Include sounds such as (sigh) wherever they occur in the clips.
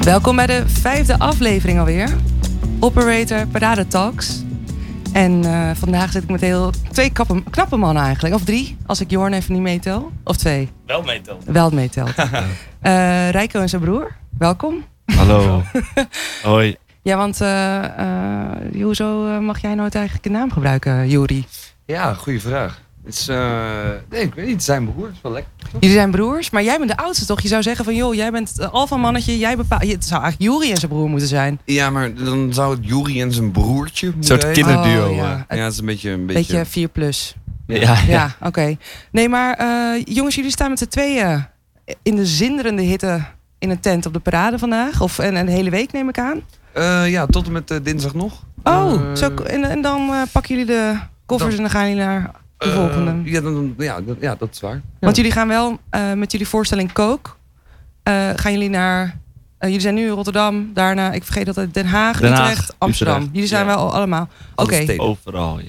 Welkom bij de vijfde aflevering alweer. Operator Parade Talks. En eh, vandaag zit ik met heel twee kappe- knappe mannen eigenlijk. Of drie, als ik Jorn even niet meetel. Of twee, Wel meetelt. wel meetelt. Eh Rijko en zijn broer, welkom. Hallo. (laughs) Hoi. Ja, want eh, eh, hoezo eh, mag jij nooit eigenlijk een naam gebruiken, Juri? Ja, goede vraag. Het is, eh, nee, ik weet niet, het zijn broer, het is wel lekker. Jullie zijn broers, maar jij bent de oudste toch? Je zou zeggen van, joh, jij bent het alpha mannetje. Jij bepaalt... Het zou eigenlijk Juri en zijn broer moeten zijn. Ja, maar dan zou het Juri en zijn broertje moeten soort heten. Kinderduo, Oh, eh. ja. Ja, het is een beetje... Een beetje, Beetje 4 plus. Ja, ja. Ja, oké. Nee, maar eh, jongens, jullie staan met z'n tweeën in de zinderende hitte in een tent op de parade vandaag. Of en een hele week neem ik aan. Eh, ja, tot en met eh, dinsdag nog. Oh, Eh, zo, en, en dan eh, pakken jullie de koffers en dan gaan jullie naar de eh, volgende. ja, dan- dan, ja, dat, ja, dat is waar. Want jullie gaan wel eh, met jullie voorstelling Kook. eh, gaan jullie naar. eh, jullie zijn nu in Rotterdam, daarna, ik vergeet dat Den Haag, Den Haag, Utrecht, Amsterdam. Utrecht, Jullie zijn ja. wel allemaal. Oké, Alle steden. Overal, ja.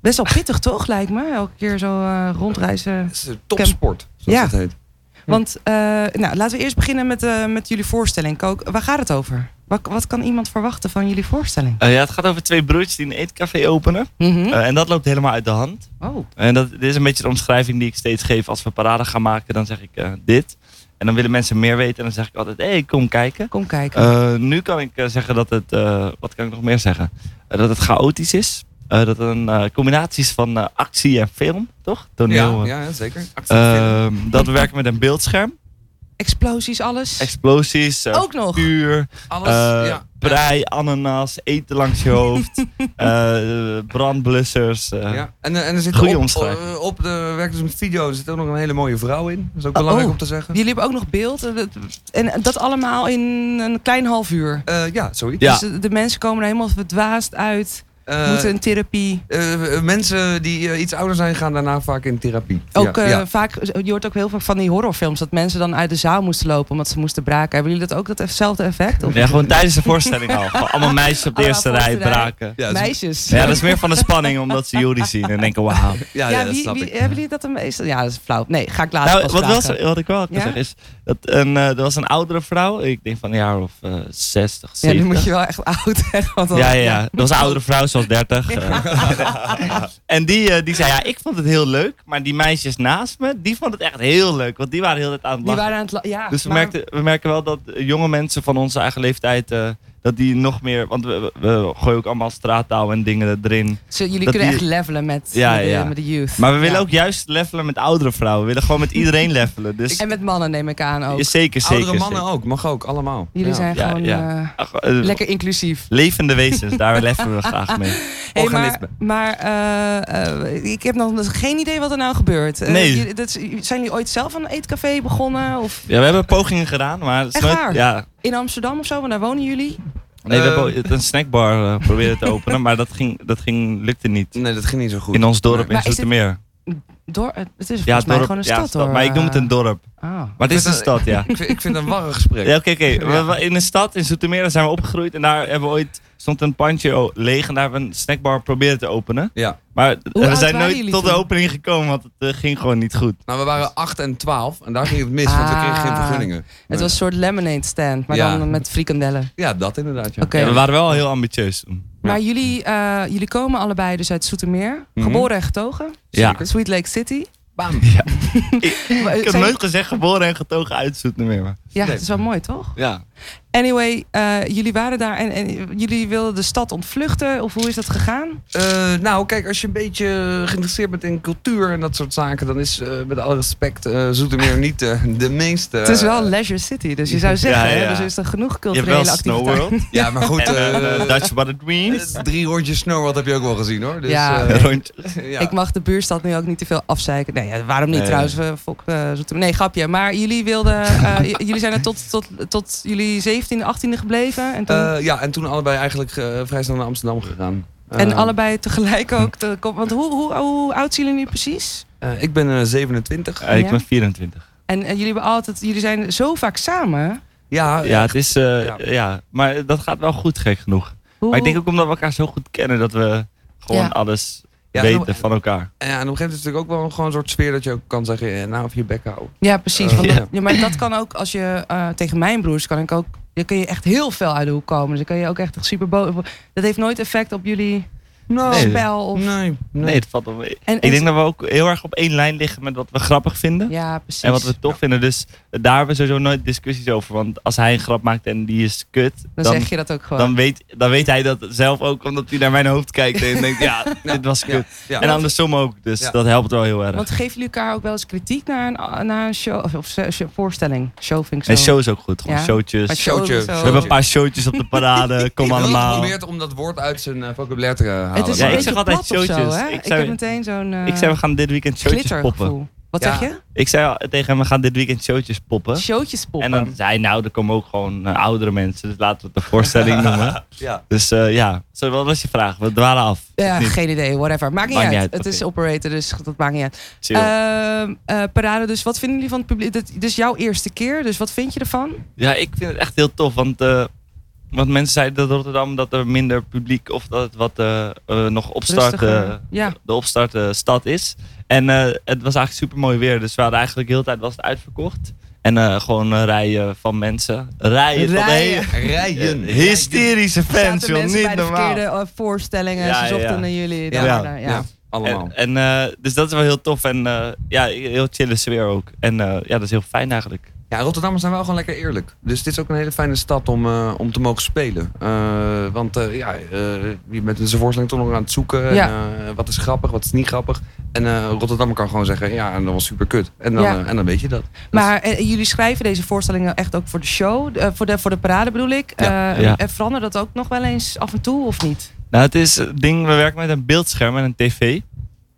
best wel pittig toch, lijkt me? Elke keer zo eh, rondreizen. Het is eh, topsport, zoals Ja. dat heet. Hm. Want eh, nou, laten we eerst beginnen met, eh, met jullie voorstelling. Kook, waar gaat het over? Wat, wat kan iemand verwachten van jullie voorstelling? Mhm. Eh, ja, het gaat over twee broertjes die een eetcafé openen. Hm? Eh, en dat loopt helemaal uit de hand. oh. En dat, dit is een beetje de omschrijving die ik steeds geef als we parade gaan maken. Dan zeg ik eh, dit. En dan willen mensen meer weten. En dan zeg ik altijd, hé, hey, kom kijken. Kom kijken. Eh, nu kan ik eh, zeggen dat het, eh, wat kan ik nog meer zeggen? Eh, dat het chaotisch is. Eh, dat het een eh, combinatie is van eh, actie en film, toch? Ja, Toneel. ja, ja, zeker. Actie- eh. Ehm, dat we werken met een beeldscherm. Explosies, alles. Explosies, eh, Ook nog. vuur. Alles, Eh, ja. Prei, ananas, eten langs je (laughs) hoofd, eh, brandblussers. eh. Ja, en, eh, en er zit Goeie op, omschrijving. eh, op de Werkers met Video zit ook nog een hele mooie vrouw in. Dat is ook Oh, belangrijk oh. om te zeggen. Jullie hebben ook nog beeld. eh, dat- En dat allemaal in een klein half uur. Eh, ja, zoiets. Ja. Dus de- de mensen komen er helemaal verdwaasd uit. Eh, moeten in therapie. Eh, eh, mensen die eh, iets ouder zijn, gaan daarna vaak in therapie. Ook ja, eh, ja. vaak, je hoort ook heel vaak van die horrorfilms dat mensen dan uit de zaal moesten lopen omdat ze moesten braken. Hebben jullie dat ook, datzelfde effect? Of Ja, gewoon tijdens de voorstelling al. Gewoon allemaal meisjes op de Allemaal eerste rij voorste rij. braken. Ja, zo- meisjes? Ja, dat is meer van de spanning omdat ze jullie zien en denken wauw. ja, Ja, ja, dat wie, snap wie- eh, ik. hebben jullie dat de meeste? Ja, dat is flauw. Nee, ga ik later Nou, pas wat, wel, vragen. zo- wat ik wel kan Ja? zeggen is, dat een, eh, er was een oudere vrouw, ik denk van een jaar of eh 60, Ja, 70. nu moet je wel echt oud zeggen. want dan- Ja, ja, ja. Dat was een oudere vrouw, zoals 30. eh. en die, eh, die zei, ja, ik vond het heel leuk. Maar die meisjes naast me, die vond het echt heel leuk. Want die waren heel de tijd aan het Die lachen. waren aan het... la- Ja, Dus we, maar- merkten, we merken wel dat jonge mensen van onze eigen leeftijd, eh, dat die nog meer, want we, we- we gooien ook allemaal straattaal en dingen erin. Ze- jullie dat kunnen die- echt levelen met, Ja, met, de, ja. met de youth. Maar we willen Ja. ook juist levelen met oudere vrouwen. We willen gewoon met iedereen levelen. Dus En met mannen neem ik aan ook. Ja, zeker, zeker. Oudere mannen zeker. ook, mag ook, allemaal. Jullie Ja. zijn Ja, gewoon ja. eh, Ach, eh, lekker inclusief. Levende wezens, daar levelen we (laughs) graag mee. Hey, maar Organisme. maar eh, eh, ik heb nog geen idee wat er nou gebeurt. Eh, Nee. jullie- dat is- zijn jullie ooit zelf een eetcafé begonnen? Of Ja, we hebben pogingen gedaan, maar het is Echt nooit- waar? ja, in Amsterdam of zo? Want daar wonen jullie. nee, we Eh, hebben ooit een snackbar eh, proberen te openen, maar dat, ging, dat ging, lukte niet. Nee, dat ging niet zo goed. In ons dorp Maar is in dit- Zoetermeer. Door, het is volgens Ja, mij dorp- gewoon een ja, stad hoor. Maar ik noem het een Eh, dorp. ah. Maar het is een Ik vind dat- stad, (laughs) ja. ik, vind, ik vind het een warrig gesprek. Ja, oké, oké. Ja. We- we- In een stad, in Zoetermeer, daar zijn we opgegroeid. En daar hebben we ooit, stond een pandje o- leeg. En daar hebben we een snackbar proberen te openen. Ja. Maar d- oud we zijn waren nooit jullie tot de toen? opening gekomen, want het eh, ging gewoon niet goed. Nou, we waren 8 en 12 en daar ging het mis, want we kregen geen Ah. vergunningen. Het was een soort lemonade stand, maar Ja. dan met frikandellen. Ja, dat inderdaad. Ja. Oké. Ja, we waren wel heel ambitieus toen. Maar jullie, eh, jullie komen allebei dus uit Soetermeer. Mhm. Geboren en getogen. Ja. Sweet Lake City. Bam. Maar, Ik heb Eh, zijn- nooit gezegd geboren en getogen uit Zoetermeer. maar- Ja, Nee. dat is wel mooi toch? Ja. Anyway, eh, jullie waren daar en, en jullie wilden de stad ontvluchten. Of hoe is dat gegaan? Eh, nou, kijk, als je een beetje geïnteresseerd bent in cultuur en dat soort zaken, dan is eh, met alle respect eh, Zoetermeer (laughs) niet eh, de meeste. eh, het is wel Leisure City, dus je zou zeggen, hè, ja. dus er is er genoeg Je hebt culturele wel activiteit. Snow World. Ja, maar goed, (laughs) en eh, eh, eh, Dutch by the Dream. eh, drie rondjes snowboard heb je ook wel gezien hoor. Dus, Ja. eh, Rond- (laughs) ja. (laughs) Ik mag de buurstad nu ook niet te veel afzeiken. Nee, ja, waarom niet Nee. trouwens? We fok, eh, Zoetermeer. Nee, grapje. Maar jullie wilden, eh, (laughs) j- jullie zijn er tot, tot, tot jullie 17e, 18e gebleven. En, toen, Eh, ja, en toen allebei eigenlijk eh, vrij snel naar Amsterdam gegaan. en Ehm. Eh, allebei tegelijk ook. te- kom- want hoe, hoe, hoe oud zijn jullie nu precies? eh, ik ben eh, 27. Eh, ik Ja. ben 24. En eh, jullie, hebben altijd, jullie zijn zo vaak samen. Oh, Ja, Ja, het is, eh, Ja. ja, maar dat gaat wel goed, gek genoeg. Hoe, Maar ik denk ook omdat we elkaar zo goed kennen dat we gewoon Ja. alles Ja, weten nou, van elkaar. Ja, en op een gegeven moment is het natuurlijk ook wel gewoon een soort sfeer dat je ook kan zeggen, eh, nou of je bek houden. Ja, precies. Eh, want ja. dat- ja, maar dat kan ook als je eh, tegen mijn broers kan ik ook. Dan kun je echt heel veel uit de hoek komen. Dus dan kun je ook echt super boven. Dat heeft nooit effect op jullie Nou, Nee. spel. Of... nee, Nee, nee. het valt wel mee. En- ik denk dat we ook heel erg op één lijn liggen met wat we grappig vinden. Ja, precies. En wat we tof vinden. Dus daar hebben we sowieso nooit discussies over. Want als hij een grap maakt en die is kut, dan, dan, zeg je dat ook gewoon. dan, weet, dan weet hij dat zelf ook. Omdat hij naar mijn hoofd kijkt en denkt, (laughs) ja, dit was kut. Ja. En andersom ook. Dus Ja. dat helpt wel heel erg. Want geven jullie elkaar ook wel eens kritiek naar een, naar een show? Of, of se- se- voorstelling? Show vind ik zo. en show is ook goed. Gewoon Ja. Maar showtjes. show- Showtje. We We hebben een paar showtjes op de (laughs) parade. Kom Ik allemaal. probeert om dat woord uit zijn eh, vocabulaire te eh, halen. Het is Ja, een ik beetje zeg altijd plat of zo, showtjes. hè? Ik Ik, zei- heb meteen zo'n eh, Ik zei, we gaan dit weekend showtjes poppen. glittergevoel. Wat Ja. zeg je? Ik zei al tegen hem, we gaan dit weekend showtjes poppen. Showtjes poppen. En dan zei hij, nou, er komen ook gewoon eh, oudere mensen. Dus laten we het een (laughs) voorstelling noemen. Ja. Dus eh, ja, Zo, wat was je vraag? We dwalen af. ja, Niet geen idee, whatever. Maakt niet Maakt uit. niet uit, Het oké. is operator, dus dat maakt niet uit. chill. Ehm, eh, parade, dus wat vinden jullie van het publiek? Dit, dit is jouw eerste keer, dus wat vind je ervan? Ja, ik vind het echt heel tof. Want, eh, want mensen zeiden dat Rotterdam dat er minder publiek of dat het wat eh, eh, nog opstart, Rustiger. eh, ja. de opstart eh, stad is. En eh, het was eigenlijk super mooi weer. Dus we hadden eigenlijk de hele tijd was het uitverkocht. En eh, gewoon eh, rijen van mensen. Rijen, van Rijen. hele- Rijden. eh, hysterische fans, Zaten joh. mensen bij Niet de normaal. verkeerde eh, voorstellingen. Ja, Ze zochten ja. naar jullie. Ja. daar, Ja. daar, ja. Ja, allemaal. En, en, eh, dus dat is wel heel tof en eh, ja, heel chille sfeer ook. En eh, ja, dat is heel fijn eigenlijk. Ja, Rotterdammers zijn wel gewoon lekker eerlijk. Dus dit is ook een hele fijne stad om, eh, om te mogen spelen. Eh, want eh, ja, eh, je bent in zijn voorstelling toch nog aan het zoeken. Ja. En, eh, wat is grappig, wat is niet grappig. En eh Rotterdam kan gewoon zeggen, ja, en dat was super kut. En dan, Ja. eh, en dan weet je dat. Maar eh, jullie schrijven deze voorstellingen echt ook voor de show, eh, voor, de, voor de parade bedoel ik. Ja, Eh, ja. En verandert dat ook nog wel eens af en toe of niet? Nou, het is het ding, we werken met een beeldscherm en een tv.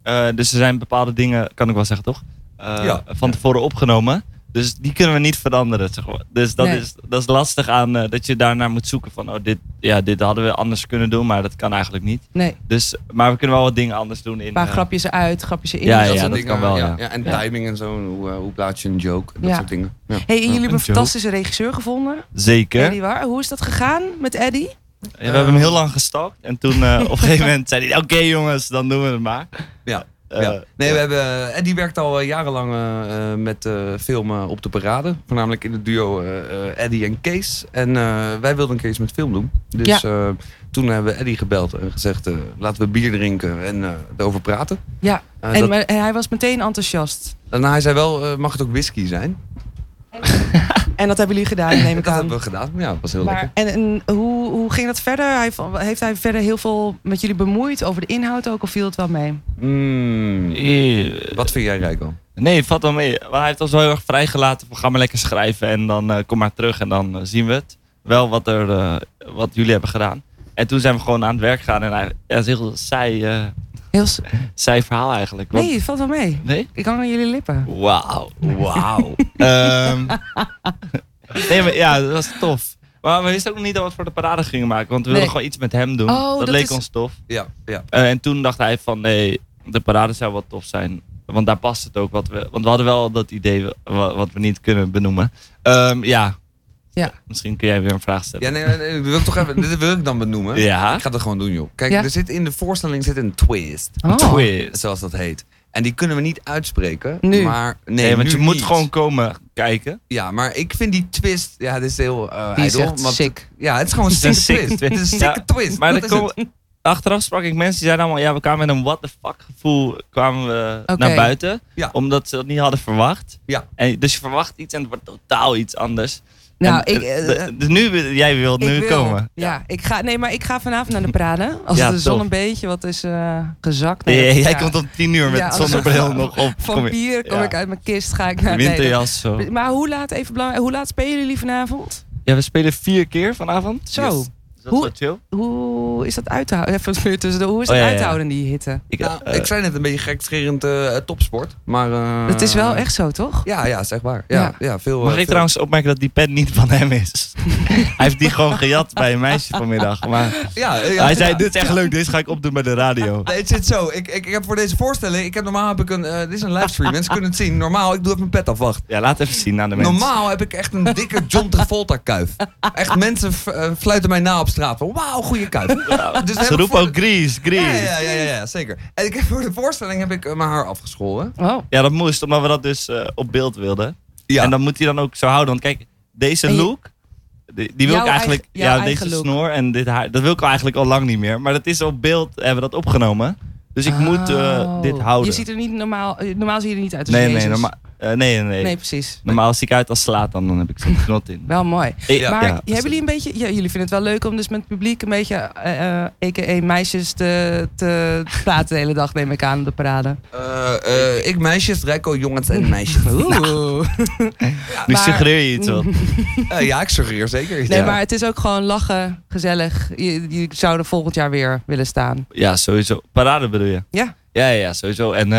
Eh, dus er zijn bepaalde dingen, kan ik wel zeggen toch? Eh, Ja. Van tevoren opgenomen. Dus die kunnen we niet veranderen. Zeg maar. Dus dat, Nee. is, dat is lastig aan eh, dat je daarnaar moet zoeken van, oh, dit, ja, dit hadden we anders kunnen doen, maar dat kan eigenlijk niet. Nee, Dus, maar we kunnen wel wat dingen anders doen. In, een paar eh, grapjes eruit, grapjes erin. Ja, Dat ja, soort dat kan wel, ja. en Ja. timing en zo, en hoe, eh, hoe plaats je een joke, dat Ja. soort dingen. Ja. Hey, en jullie hebben Een een joke. fantastische regisseur gevonden, Zeker. Eddie War. Hoe is dat gegaan met Eddie? Ja, we Eh. hebben hem heel lang gestalkt. En toen eh, op een gegeven moment zei hij, oké jongens, dan doen we het maar. Ja, Eh, ja. Nee, we hebben, en die werkt al eh, jarenlang eh, eh, met eh, filmen op de parade. Voornamelijk in het duo eh eh, Eddie en Kees. En eh, wij wilden een Kees met film doen. Dus eh, toen hebben we Eddie gebeld en gezegd: eh, laten we bier drinken en eh erover praten. Ja, Eh, Ah, en, dat- maar- en hij was meteen enthousiast. en hij zei wel: eh, mag het ook whisky zijn? En dat hebben jullie gedaan, neem (laughs) ik dat aan. hebben we gedaan. Ja, dat was heel Maar, lekker. en en hoe, hoe ging dat verder? Hij, v- heeft hij verder heel veel met jullie bemoeid over de inhoud ook? Of viel het wel mee? Mm, eh, wat vind jij, Rijko? Nee, het valt wel mee. Maar hij heeft ons wel heel erg vrijgelaten. van, Ga maar lekker schrijven en dan eh, kom maar terug en dan eh, zien we het. Wel wat, er, eh, wat jullie hebben gedaan. En toen zijn we gewoon aan het werk gegaan. En hij, ja, dat is een heel saai, eh, Heel s- saai verhaal eigenlijk. Want- nee, het valt wel mee. Nee? Ik hang aan jullie lippen. Wauw, (laughs) wauw. Ehm, nee, maar ja, dat was tof. Maar we wisten ook nog niet dat we het voor de parade gingen maken. Want we wilden Nee. gewoon iets met hem doen. Oh, dat, dat leek is- ons tof. Ja, ja. Eh, en toen dacht hij van nee, de parade zou wel tof zijn. Want daar past het ook. Wat we, want we hadden wel dat idee wa- wa- wat we niet kunnen benoemen. Ehm, ja. Ja. Misschien kun jij weer een vraag stellen. Ja, nee, nee, nee, wil ik toch even, (laughs) dit wil ik dan benoemen. Ja. Ik ga dat gewoon doen, joh. Kijk, Ja. er zit in de voorstelling zit een twist. Oh. Quiz. zoals dat heet. En die kunnen we niet uitspreken. Nu. Maar, nee, Nee, want je nu moet niet. gewoon komen kijken. Ja, maar ik vind die twist... Ja, dit is heel eh Die is ijdel, echt want- sick. Ja, het is gewoon een Het is een sick sick twist. twist. Het is een Ja, sick twist. Maar dat er is komen- achteraf sprak ik mensen die zeiden allemaal, ja, we kwamen met een what the fuck gevoel kwamen we Oké. naar buiten. Ja. Omdat ze dat niet hadden verwacht. Ja. En, dus je verwacht iets en het wordt totaal iets anders. Nou, En, ik, eh, eh, de- dus nu, wil- jij wilt Ik nu wil. komen. Ja, ik ga, nee, maar ik ga vanavond naar de Prade. Als Ja, de zon tof. een beetje wat is eh, gezakt. Nee, Nee, jij ja. komt om tien uur met Ja, anders- zonnebril nog op. Van Kom je- (laughs) bier kom ja. ik uit mijn kist, ga ik naar nee, Winterjas. Zo. dat- Maar hoe laat, even belangrijk, hoe laat spelen jullie vanavond? Ja, we spelen vier keer vanavond. Zo. Yes. Dus dat Hoe- is wel chill. Hoe is dat uit te houden? (laughs) Even weer tussendoor. Hoe is Oh, dat ja, uit te ja. houden, die hitte? Ik, nou, eh, ik zei net een beetje gekscherend eh topsport. Maar... eh, Het is wel echt zo, toch? Ja, ja, zeg maar. Ja, Ja. ja. veel, eh, mag ik veel- trouwens opmerken dat die pen niet van hem (laughs) is? hij heeft die gewoon gejat bij een meisje vanmiddag. Maar Ja, eh, ja, hij zei, ja. dit is echt leuk, dit ga ik opdoen bij de radio. Nee, het zit zo. Ik, ik, ik heb voor deze voorstelling... Ik heb normaal heb ik een... eh, dit is een livestream. Mensen kunnen het zien. Normaal, ik doe even mijn pet af. Wacht. Ja, laat even zien aan de mensen. Normaal heb ik echt een dikke John Travolta kuif. Echt, mensen f- eh, fluiten mij na op straat. van, Wauw, goede kuif. Dus Ze helemaal roepen voor ook de- Grease, Grease. Ja, Ja, ja, ja, ja, ja, zeker. En ik heb voor de voorstelling heb ik eh, mijn haar afgeschoren. Oh. dat moest, omdat we dat dus eh, op beeld wilden. Ja. En dan moet hij dan ook zo houden. Want kijk, deze En je- look, Die, die wil Jouw ik eigenlijk. eigen- jouw ja, deze eigen look. snor en dit haar. Dat wil ik eigenlijk al lang niet meer. Maar dat is op beeld, hebben we dat opgenomen. Dus ik moet eh, Oh. dit houden. Je ziet er niet normaal, eh, normaal zie je er niet uit als nee, nee, Jezus. norma- eh, nee, nee, nee. Nee, precies. Normaal zie ik uit als slaat, dan, dan heb ik zo'n knot in. Eh, Wel mooi. Ja, maar ja, hebben jullie een beetje, ja, jullie vinden het wel leuk om dus met het publiek een beetje, eh eh, a.k.a. meisjes, te, te praten de hele dag, neem ik aan, op de parade. Eh, eh, ik meisjes, Rijko jongens en meisjes. Nou. Oeh. Nu maar- Mm. suggereer je iets wel. Eh, ja, ik suggereer zeker. iets. Nee, Ja. maar het is ook gewoon lachen, gezellig. Je, je zou er volgend jaar weer willen staan. Ja, sowieso. Parade bedoel je? Ja. Ja, ja, ja, sowieso. En eh,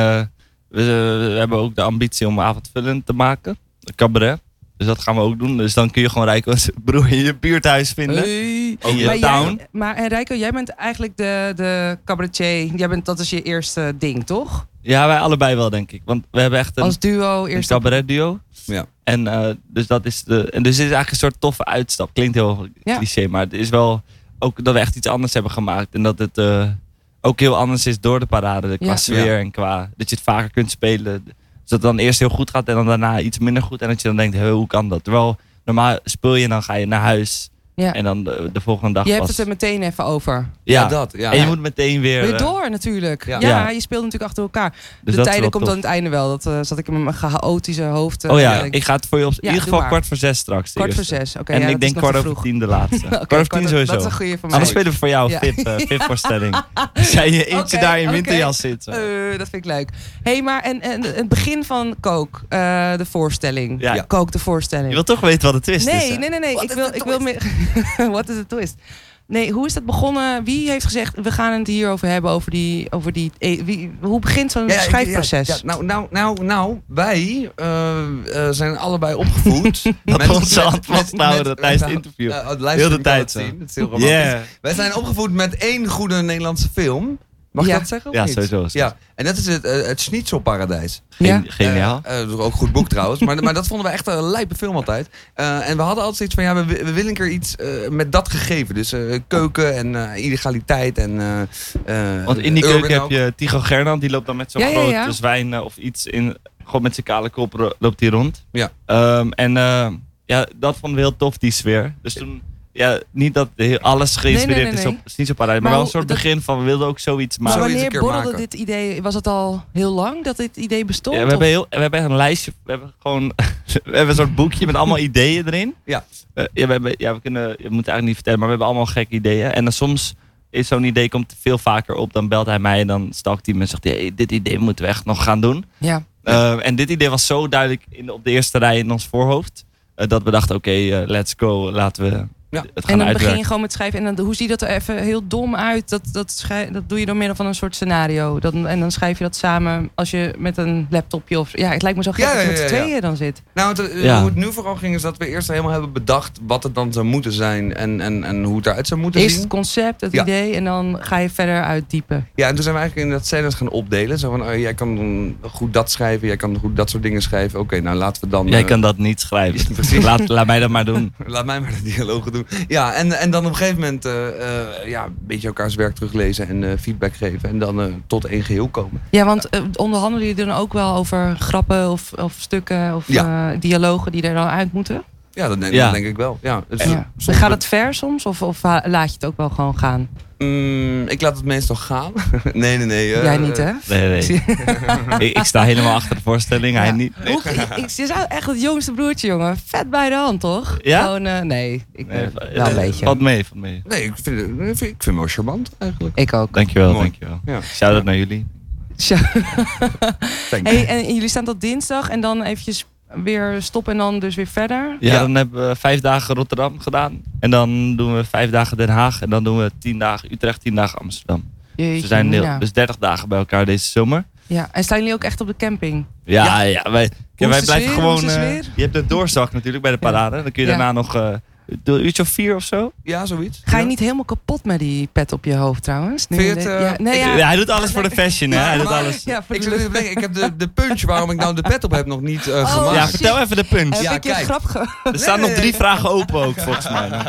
we, eh, we hebben ook de ambitie om avondvullend te maken. Een cabaret. Dus dat gaan we ook doen. Dus dan kun je gewoon Rijko en zijn broer in je buurthuis vinden. Hey. In je Maar, town. jij, maar en Rijko, jij bent eigenlijk de, de cabaretier. Jij bent, dat is je eerste ding, toch? Ja, wij allebei wel, denk ik. Want we hebben echt een, Als duo, een eerst cabaret duo. Ja. En eh, dus dat is de. En dus dit is eigenlijk een soort toffe uitstap. Klinkt heel Ja. cliché, maar het is wel ook dat we echt iets anders hebben gemaakt. En dat het eh, ook heel anders is door de parade. Qua Ja. sfeer en qua dat je het vaker kunt spelen. Dus dat het dan eerst heel goed gaat en dan daarna iets minder goed. En dat je dan denkt, "Hey, hoe kan dat? Terwijl normaal speel je en dan ga je naar huis. Ja. En dan de, de volgende dag Je hebt pas. het er meteen even over. ja. Ja, dat. Ja. En je moet meteen weer. Weer eh, door natuurlijk. Ja, Ja. Ja. je speelt natuurlijk achter elkaar. dus dat de is tijden wel komt tof. aan het einde wel. Dat eh, zat ik in mijn chaotische hoofd. eh, Oh ja, denk ik. ik ga het voor je op. Ja, in ieder doe geval maar. kwart voor zes straks. de Kwart voor eerste. zes. Oké, en ja, ik dat denk is nog kwart te over vroeg. tien de (laughs) laatste. Oké, kwart over tien over- sowieso. Dat is een goede voor mij. Anders spelen we voor jou Ja. (laughs) fit, eh, fit voorstelling. (laughs) Als jij je eentje Oké, daar in oké. winterjas zit. eh. Eh, dat vind ik leuk. hey, maar en, en het begin van Kook, eh, de voorstelling. Ja. Kook, de voorstelling. Je wilt toch weten wat het twist is. nee, hè? nee, nee, nee. What Ik is wil, the ik wil meer. (laughs) Wat is de twist? Nee, hoe is dat begonnen? Wie heeft gezegd, we gaan het hierover hebben, over die, over die, eh, wie, hoe begint zo'n Ja, ik- schrijfproces? ja, ja, nou, nou, nou, nou, wij eh, eh, zijn allebei opgevoed. (laughs) Dat met- we ons met- aan het met- vasthouden met- tijdens het met- interview. eh, oh, het Heel luisteren de kan tijd het zo. zien. Het is heel romantisch. Yeah. Wij zijn opgevoed met één goede Nederlandse film. Mag Ja. ik dat zeggen? Of Ja, niet? sowieso. Ja, en dat is het, eh, het Schnitzelparadijs. Ja? Gen- Geniaal. Eh, eh, dat is ook een goed boek trouwens. Maar, maar dat vonden we echt een lijpe film altijd. Eh, en we hadden altijd zoiets van, ja, we, wi- we willen een keer iets eh, met dat gegeven. Dus eh, keuken en eh, illegaliteit en... eh, eh, Want in die urban keuken ook. heb je Tigo Gernand, die loopt dan met zo'n Ja, ja, groot ja. zwijn eh, of iets in. Gewoon met zijn kale kop ro- loopt hij rond. Ja. Ehm, en ehm, ja, dat vonden we heel tof, die sfeer. Dus toen, ja, niet dat heel- alles geïnspireerd Nee, nee, nee, is nee. op het is niet zo paradijs, maar, Maar wel een hoe- soort dat- begin van we wilden ook zoiets Maar maken. Zoiets wanneer een keer borrelde maken. dit idee? Was het al heel lang dat dit idee bestond? Ja, we, hebben heel, we hebben echt een lijstje. We hebben gewoon (laughs) we hebben een soort boekje (laughs) met allemaal ideeën erin. Ja. Eh, ja, we hebben, ja, we kunnen, je moet het eigenlijk niet vertellen, maar we hebben allemaal gekke ideeën. En dan soms is zo'n idee komt veel vaker op. Dan belt hij mij en dan stalkt hij me en zegt: hey, dit idee moeten we echt nog gaan doen. Of- ja. Eh, en dit idee was zo duidelijk in, op de eerste rij in ons voorhoofd. eh, dat we dachten: oké, eh, let's go, laten we Ja. het En dan begin gaan je uitwerken. gewoon met schrijven. En dan, hoe ziet dat er even heel dom uit? Dat, dat, schrij- dat doe je door middel van een soort scenario. Dan, en dan schrijf je dat samen als je met een laptopje of... Ja, het lijkt me zo gek Ja, dat je ja, met z'n ja, ja. tweeën dan zit. Nou, het, eh, Ja. hoe het nu vooral ging is dat we eerst helemaal hebben bedacht wat het dan zou moeten zijn en, en, en hoe het eruit zou moeten Eerst het zien. concept, het Ja. idee. En dan ga je verder uitdiepen. Ja, en toen zijn we eigenlijk in dat scènes gaan opdelen. Zo van, oh, jij kan dan goed dat schrijven, jij kan goed dat soort dingen schrijven. Oké, nou laten we dan... Jij eh, kan dat niet schrijven. Precies. Laat, laat mij dat maar (laughs) doen. Laat mij maar de (laughs) dialogen doen. Ja, en, en dan op een gegeven moment eh, eh, ja, een beetje elkaars werk teruglezen en eh, feedback geven. En dan eh, tot één geheel komen. Ja, want eh, onderhandelen jullie dan ook wel over grappen of, of stukken of Ja. eh, dialogen die er dan uit moeten? Ja, dat denk, Ja. dat denk ik wel. Ja, dus, Ja. soms- Gaat het ver soms of, of ha- laat je het ook wel gewoon gaan? Mm, ik laat het meestal gaan. (laughs) nee, nee, nee. eh, Jij niet, hè? Nee, nee. Zie- ik, ik sta helemaal achter de voorstelling, hij Ja. niet. Hoe, ik, je zou echt het jongste broertje, jongen. Vet bij de hand, toch? Ja? Gewoon, eh, nee, ik, eh, Nee, wel een eh, beetje. Valt mee, valt mee. Nee, ik vind, eh, ik vind, ik vind hem wel charmant eigenlijk. Ik ook. Dankjewel, Mooi. dankjewel. Ja. Shout-out naar jullie. Zo. Thanks. Hey, en jullie staan tot dinsdag en dan eventjes weer stoppen en dan dus weer verder? Ja, Ja. dan hebben we vijf dagen Rotterdam gedaan. En dan doen we vijf dagen Den Haag. En dan doen we tien dagen Utrecht, tien dagen Amsterdam. Dus we Jeetje, zijn heel, ja. dus dertig dagen bij elkaar deze zomer. ja. En staan jullie ook echt op de camping? Ja, ja. wij, Hoe ja, is de wij blijven sfeer? gewoon... Hoe is de eh, sfeer? je hebt de doorzak natuurlijk bij de parade. Dan kun je Ja. daarna nog eh een uurtje of vier of zo. Ja, zoiets. Ga je Ja. niet helemaal kapot met die pet op je hoofd trouwens? Nu Vind je in het, de- eh, ja, nee, Ik- ja. ja, hij doet alles voor de fashion, hè. Hij doet Maar- alles. Ja, voor Ik, de zit lucht. te denken, ik heb de, de punch waarom ik nou de pet op heb nog niet eh, Oh, Ja, gemaakt. vertel even de punch. Heb Ja, ik je kijk. grap ge... Er staan nog drie vragen open ook, volgens mij. Nee,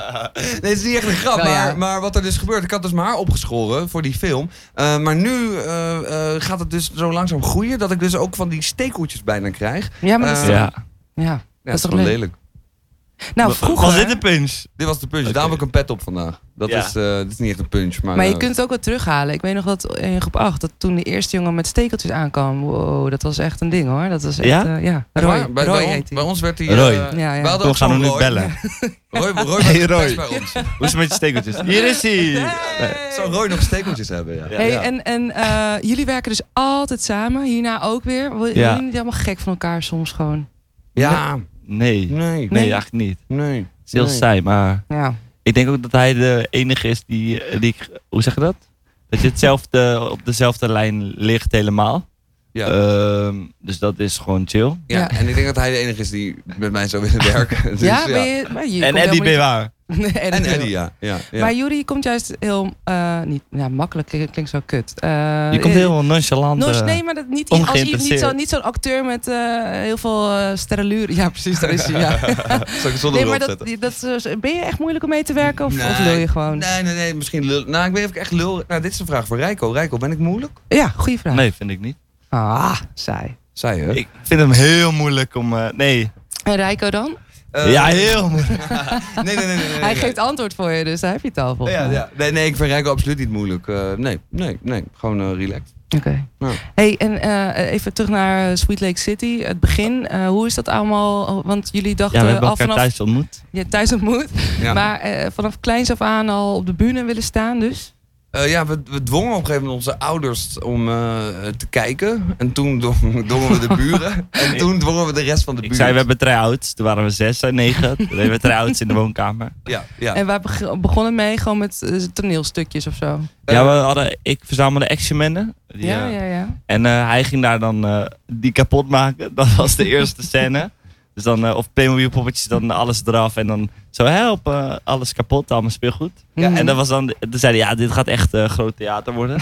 het is niet echt een grap, Wel, Nou ja. maar, maar wat er dus gebeurt, ik had dus mijn haar opgeschoren voor die film. Eh, maar nu eh, eh, gaat het dus zo langzaam groeien dat ik dus ook van die stekeltjes bijna krijg. Ja, maar dat is, Eh, toch- Ja. ja, dat is toch gewoon leuk? lelijk. Nou, Wa- vroeger... Was dit een pinch? Dit was de punch. Oké. Daarom heb ik een pet op vandaag. Dat Ja. is, eh, dit is niet echt een punch. Maar, Maar je eh, kunt het ook wel terughalen. Ik weet nog dat in groep 8, dat toen de eerste jongen met stekeltjes aankwam. Wow, dat was echt een ding hoor. Dat was echt, Ja? eh, ja. echt Roy, waar, bij, Roy bij, on- heet hij. bij ons werd hij... Roy. eh, Ja, ja. wij hadden We ook gaan hem zo'n nu Roy. bellen. Roy, (laughs) Roy, Roy Hey, werd Roy. gepest bij ons. Hoe is het met je (laughs) stekeltjes? Hier is hij! Zou Roy nog stekeltjes hebben, ja. Hey, Ja. En, en eh, jullie werken dus altijd samen, hierna ook weer. Worden Ja. jullie niet helemaal gek van elkaar soms gewoon? ja. Nee. Nee, Nee. eigenlijk niet. Nee. Het is heel Nee. saai, maar Ja. ik denk ook dat hij de enige is die, eh, die ik- hoe zeg je dat? Dat je hetzelfde, op dezelfde lijn ligt helemaal. Ja. Ehm, dus dat is gewoon chill. Ja, Ja. en ik denk dat hij de enige is die met mij zou willen werken. Dus, ja, ben je... maar je en komt helemaal Eddie Bewaar. niet- (laughs) Nee, Eddie En wel. Eddie, ja. ja, ja. Maar Jury komt juist heel... eh, niet, ja, makkelijk klink- klinkt zo kut. Eh, Je komt eh, heel nonchalant. Nos, eh, nee, maar dat niet, als iemand niet ongeïnteresseerd. zo'n niet zo'n acteur met eh, heel veel eh sterreluren. Ja, precies, daar is hij. (laughs) Ja. Zal ik zonder Nee, maar erop dat, zetten? die- dat, is- ben je echt moeilijk om mee te werken of, of Nee. wil je gewoon? Nee, nee, nee. Misschien lul. Nou, ik weet niet of ik echt lul... Nou, dit is een vraag voor Rijko. Rijko, ben ik moeilijk? Ja, goede vraag. Nee, vind ik niet. Ah, saai. Zij, hè? Ik vind hem heel moeilijk om. eh, nee. En Rijko dan? Eh, ja, heel moeilijk. (laughs) Nee, nee, nee. nee, nee, nee. Hij geeft antwoord voor je, dus daar heb je het al volgens Eh, Ja, mij. ja. Nee, nee, ik vind Rijko absoluut niet moeilijk. Eh, nee, nee, nee. Gewoon eh, relaxed. Nou. Oké. Ja. Hey, en eh, even terug naar eh, Sweet Lake City, het begin. Eh, hoe is dat allemaal? Want jullie Ja, we dachten hebben al elkaar vanaf thuis ontmoet. je thuis ontmoet, Ja. maar eh, vanaf kleins af aan al op de bühne willen staan, dus. Eh, ja, we, we dwongen op een gegeven moment onze ouders om eh, te kijken. En toen dwong- (laughs) dwongen we de buren. En toen dwongen we de rest van de Ik buurt. zei, we hebben try-outs. Toen waren we zes en negen. Toen deden we try-outs in de woonkamer. Ja, ja. En waar beg- begon het mee? Gewoon met eh, toneelstukjes of zo. Eh, Ja, we hadden, ik verzamelde actionmannen. Die, Ja, eh, ja, ja. En eh, hij ging daar dan eh, die kapot maken. (laughs) Dat was de eerste scène. Dus dan, eh, of Playmobil poppetjes, dan alles eraf. En dan zo help, eh, alles kapot, allemaal speelgoed. Ja, En dat was dan, toen zeiden ja, dit gaat echt eh, groot theater (laughs) worden.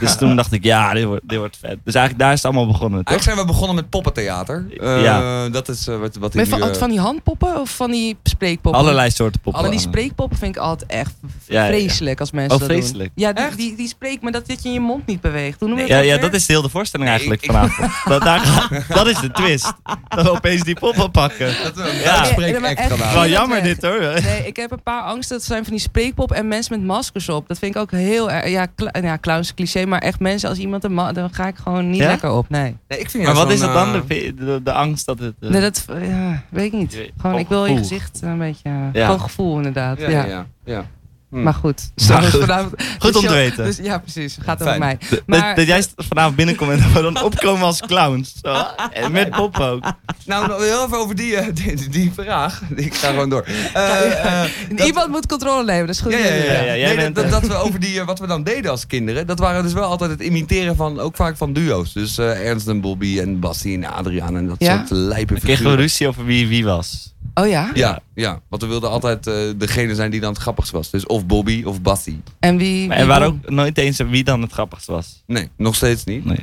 dus toen dacht ik, ja, dit wordt, dit wordt vet. Dus eigenlijk daar is het allemaal begonnen, toch? Eigenlijk zijn we begonnen met poppentheater. Eh, Ja. Dat is eh, wat, wat Maar ik nu, van, eh, van die handpoppen of van die spreekpoppen? Allerlei soorten poppen. Maar die spreekpoppen vind ik altijd echt v- Ja, ja, ja. vreselijk als mensen Oh, dat doen. vreselijk. Ja, die, Echt? die, die spreekt, maar dat, dat je je mond niet beweegt. Hoe noem je ja, dat ja, weer? dat is heel de voorstelling Nee, eigenlijk ik- ik- (laughs) vanavond. dat, daar gaat- dat is de twist. Dat we opeens die poppen pakken. Dat we een Ja. uitspreek Ja, maar act echt. gedaan. Wel dat jammer weg. dit hoor. Nee, ik heb een paar angsten. Dat zijn van die spreekpop en mensen met maskers op. Dat vind ik ook heel erg. Ja, cl ja clowns cliché, maar echt mensen als iemand een ma- dan ga ik gewoon niet Ja? lekker op. Nee. Nee, ik vind Maar juist wat is zo'n, dat dan? eh, De, de, de angst dat het... eh, nee dat ja, weet ik niet. Je weet- Gewoon, gewoon ik wil je gevoel. gezicht een beetje. Ja. Gewoon gevoel inderdaad. Ja, Ja, ja, ja. ja. Hm. Maar goed. Dus Maar goed. Vanavond- Goed om te show- weten. Dus, ja, precies. Gaat over Fijn. mij. Dat- Maar- dat jij vanavond binnenkomt en dat we dan opkomen als clowns. Zo. En met poppen ook. Nou, nog heel even over die, eh, (laughs) die, die- die vraag. Ik ga gewoon door. Eh, eh, dat- Iemand moet controle nemen. Dat is goed. Ja, ja, ja. ja. Ja, ja, jij Nee, bent, dat, eh, dat we over die, eh, wat we dan deden als kinderen, dat waren dus wel altijd het imiteren van, ook vaak van duo's. Dus eh, Ernst en Bobby en Basti en Adriaan en dat Ja? soort lijpe Dan kregen we figuren. ruzie over wie wie was. Oh ja? Ja, ja, want we wilden altijd eh, degene zijn die dan het grappigst was. Dus of Bobby of Basti. En wie? En wie waar won? ook nooit eens wie dan het grappigst was. Nee, nog steeds niet. Nee.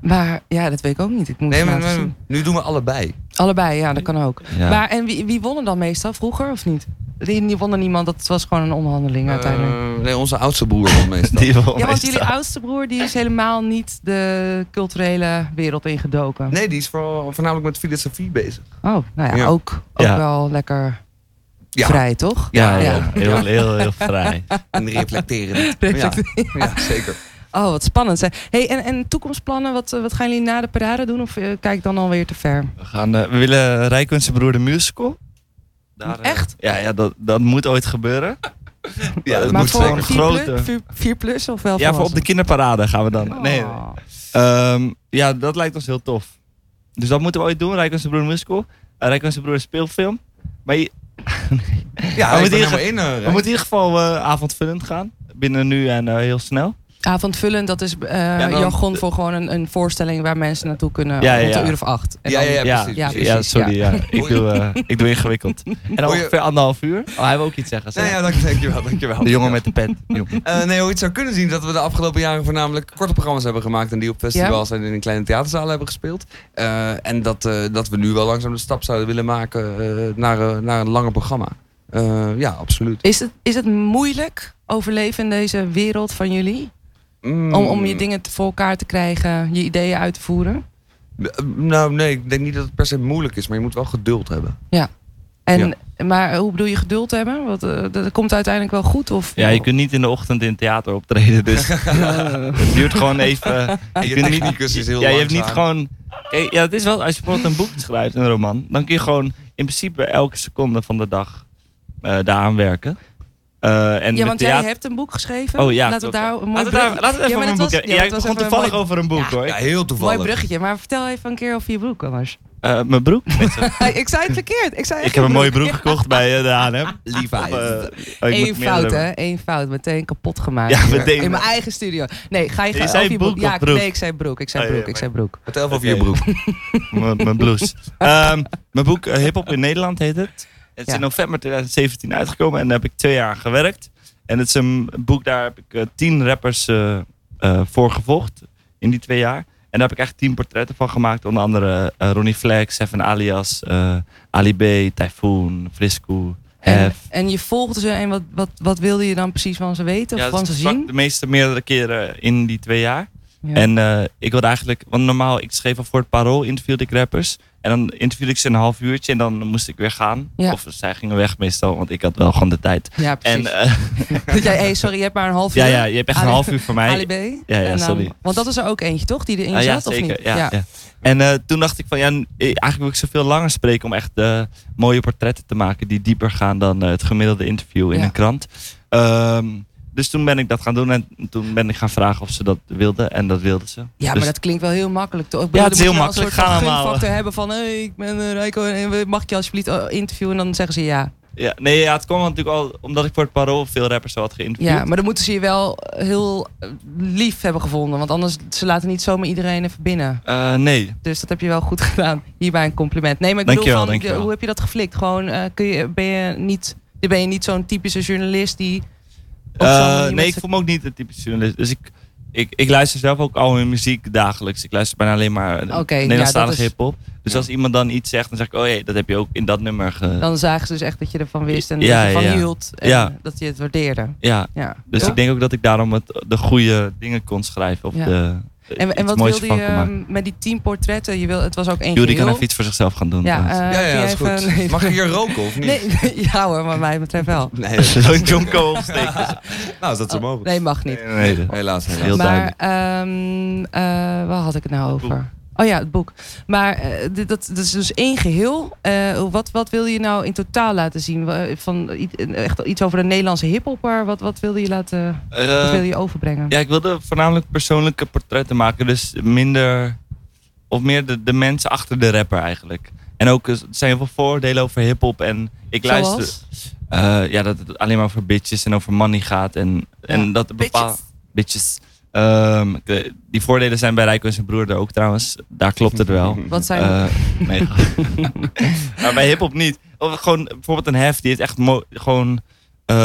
Maar ja, dat weet ik ook niet. Ik moet Nee, het maar, laten maar- zien. nu doen we allebei. Allebei, ja, dat kan ook. Ja. Maar en wie, wie won er dan meestal vroeger of niet? Die, die won er niemand, dat was gewoon een onderhandeling uiteindelijk. Eh, nee, onze oudste broer was meestal. (laughs) Die wil Ja, want meestal. jullie oudste broer die is helemaal niet de culturele wereld ingedoken. Nee, die is vooral, voornamelijk met filosofie bezig. Oh, nou ja, Ja. ook, ook Ja. wel lekker Ja, vrij, toch? Ja, Ja. ja. Heel, heel, heel, vrij. (laughs) en reflecteren. Reflecteren. Ja, ja, zeker. Oh, wat spannend. Hè. Hey, en, en toekomstplannen, wat, eh, wat gaan jullie na de parade doen? Of eh, kijk ik dan alweer te ver? We, gaan, eh, we willen Rijko en zijn broer de musical. Daar, eh, Echt? Ja, ja dat, dat moet ooit gebeuren. Ja, dat Maar moet voor zeker. zeker. 4 plus, Grote. 4, plus of wel Ja, voor op de kinderparade gaan we dan. Nee, nee. Oh. Ehm, ja, dat lijkt ons heel tof. Dus dat moeten we ooit doen. Rijken zijn broer musical. Uh, Rijken zijn broer speelfilm. Maar je- Ja, We moeten ik ben hier- helemaal in. eh, we Rijn. moeten in ieder geval eh, avondvullend gaan. Binnen nu en eh, heel snel. Avondvullend, dat is eh dan- jargon voor gewoon een, een voorstelling waar mensen naartoe kunnen Ja, ja, rond ja. een uur of acht. En Ja, dan- ja, ja, precies. ja, precies. ja, sorry. Ja. (laughs) Ik, doe, eh, ik doe ingewikkeld. En dan Hoor je- ongeveer anderhalf uur. Oh, hij wil ook iets zeggen. Nou zeg. ja, dank, dankjewel, dankjewel. De jongen met de pet. Eh, nee, hoe je het zou kunnen zien, dat we de afgelopen jaren voornamelijk korte programma's hebben gemaakt. En die op festivals en in kleine theaterzalen hebben gespeeld. Eh, en dat, eh, dat we nu wel langzaam de stap zouden willen maken eh, naar, eh, naar een langer programma. Eh, ja, absoluut. Is, het, is het moeilijk overleven in deze wereld van jullie? Mm. Om, om je dingen te- voor elkaar te krijgen, je ideeën uit te voeren? Eh, nou, nee, ik denk niet dat het per se moeilijk is, maar je moet wel geduld hebben. Ja. En, Maar hoe bedoel je geduld hebben? Want eh, dat komt uiteindelijk wel goed? Of, (laughs) Ja, je kunt niet in de ochtend in het theater optreden, (laughs) dus het duurt gewoon (laughs) even. En je kunt niet- technicus is heel ja, je hebt niet langzaam. gewoon. Kijk, ja, het is wel, als je bijvoorbeeld een boek schrijft, een roman, dan kun je gewoon in principe elke seconde van de dag eh daaraan werken. Eh, en ja, met want theater- jij hebt een boek geschreven. Oh ja, Laten we klopt, daar ja. een mooi Laten we daar- brug- laten we Ja, even maar over dat een boek was- hebben. ja, Jij dat was begon even een toevallig mooi- over een boek, Ja. hoor. Ja, heel Mooi toevallig. bruggetje, maar vertel even een keer over je broek, (laughs) Anders. Eh, mijn broek? Nee, sorry. ik zei het verkeerd. Ik, zei ik echt heb een je mooie (laughs) broek gekocht bij eh, de H&M. Levi's. Of, eh, oh, ik moet Eén meerdere fout, hè? hebben. Eén fout. Meteen kapot gemaakt. Ja, meteen. In mijn eigen studio. Nee, ga je Je gaan zei over je broek Ja, of broek? nee, ik zei broek. Ik zei Oh, ja, broek. Ik maar- zei broek. Vertel even over Oké. je broek. M- mijn (laughs) blouse. Ehm, mijn boek eh, Hip Hop in Nederland heet het. Het is Ja. in november 2017 uitgekomen en daar heb ik twee jaar aan gewerkt. En het is een boek, daar heb ik eh, tien rappers eh, eh, voor gevolgd in die twee jaar. En daar heb ik echt tien portretten van gemaakt. Onder andere eh, Ronnie Flex, Seven Alias, eh, Ali B, Typhoon, Frisco, En, Hef. en je volgde ze en wat, wat, wat wilde je dan precies van ze weten of Ja, van dat ze sprak zien? de meeste meerdere keren in die twee jaar. Ja. En eh, ik wilde eigenlijk, want normaal, ik schreef al voor het parool, interviewde ik rappers. En dan interviewde ik ze een half uurtje en dan moest ik weer gaan. Ja. Of zij gingen weg meestal, want ik had wel gewoon de tijd. ja, En precies. (laughs) eh, (laughs) Dat jij, hey, sorry, je hebt maar een half uur. ja, ja, je hebt echt Ali- een half uur voor mij. (laughs) Ali B. ja, En dan- sorry. want dat is er ook eentje, toch? Die erin Ah, ja, zat, of zeker. niet? Ja, ja. En eh, toen dacht ik van, ja, n- eh, eigenlijk wil ik zoveel langer spreken om echt eh, mooie portretten te maken die dieper gaan dan eh, het gemiddelde interview in Ja. een krant. Ehm, dus toen ben ik dat gaan doen en toen ben ik gaan vragen of ze dat wilden en dat wilden ze. Ja, maar Dus- dat klinkt wel heel makkelijk. Toch? Ik Ja, het is dan heel moet je wel makkelijk. Ga Een soort allemaal. gunfactor hebben van, hey, ik ben eh, Rijko en eh, mag ik je alsjeblieft eh, interviewen? En dan zeggen ze ja. Ja, nee, ja, het kwam natuurlijk al omdat ik voor het parool veel rappers al had geïnterviewd. Ja, maar dan moeten ze je wel heel eh, lief hebben gevonden. Want anders, ze laten niet zomaar iedereen even binnen. Eh, nee. Dus dat heb je wel goed (laughs) gedaan. Hierbij een compliment. Nee, maar ik Dankjewel, bedoel, van, dankjewel. hoe heb je dat geflikt? Gewoon, eh, kun je, ben je niet, ben je niet zo'n typische journalist die... op zo'n Eh, manier nee, met ik z'n- voel me ook niet een typische journalist. Dus ik, ik, ik luister zelf ook al hun muziek dagelijks. Ik luister bijna alleen maar eh, Oké, ja, Nederlandstalige dat is- hip-hop. Dus als iemand dan iets zegt, dan zeg ik, oh jee, dat heb je ook in dat nummer ge... Dan zagen ze dus echt dat je ervan wist en Ja, dat je ervan ja. hield. En Ja. dat je het waardeerde. Ja, Ja. dus Ja. ik denk ook dat ik daarom het, de goede dingen kon schrijven. Of Ja. de, En, en iets wat moois wilde van je kon maken. ehm, met die tien portretten? Je wil, het was ook één Jury geheel. kan even iets voor zichzelf gaan doen. Ja, trouwens. eh, ja, kun ja, jij is goed. even- nee, Mag ik hier roken of niet? Nee, (laughs) ja hoor, maar mij betreft (laughs) wel. (laughs) Nou, Nee. Zo'n jonko opsteken. (laughs) Nou, is dat zo mogelijk? Ah, Nee, mag niet. Nee, nee. Helaas, helaas. Heel maar ehm eh, waar had ik het nou Het over? Oh ja, het boek. Maar eh, dit- dat, dat is dus één geheel. Eh, wat, wat wilde je nou in totaal laten zien? Wa- Van, i- echt iets over de Nederlandse hiphopper? Wat, wat wilde je laten wat Eh, wilde je overbrengen? Ja, ik wilde voornamelijk persoonlijke portretten maken. Dus minder. Of meer de, de mensen achter de rapper eigenlijk. En ook eh, er zijn heel veel voordelen over hip-hop. En ik Zoals? luister. eh, ja, dat het alleen maar over bitches en over money gaat. En, en dat de bepaalde. Bitches. Ehm, ik, eh, die voordelen zijn bij Rijko en zijn broer er ook trouwens. Daar klopt het wel. Wat zijn Eh, (laughs) nee. (laughs) maar bij hip-hop niet. Of gewoon bijvoorbeeld een hef, die heeft echt mo- gewoon. eh,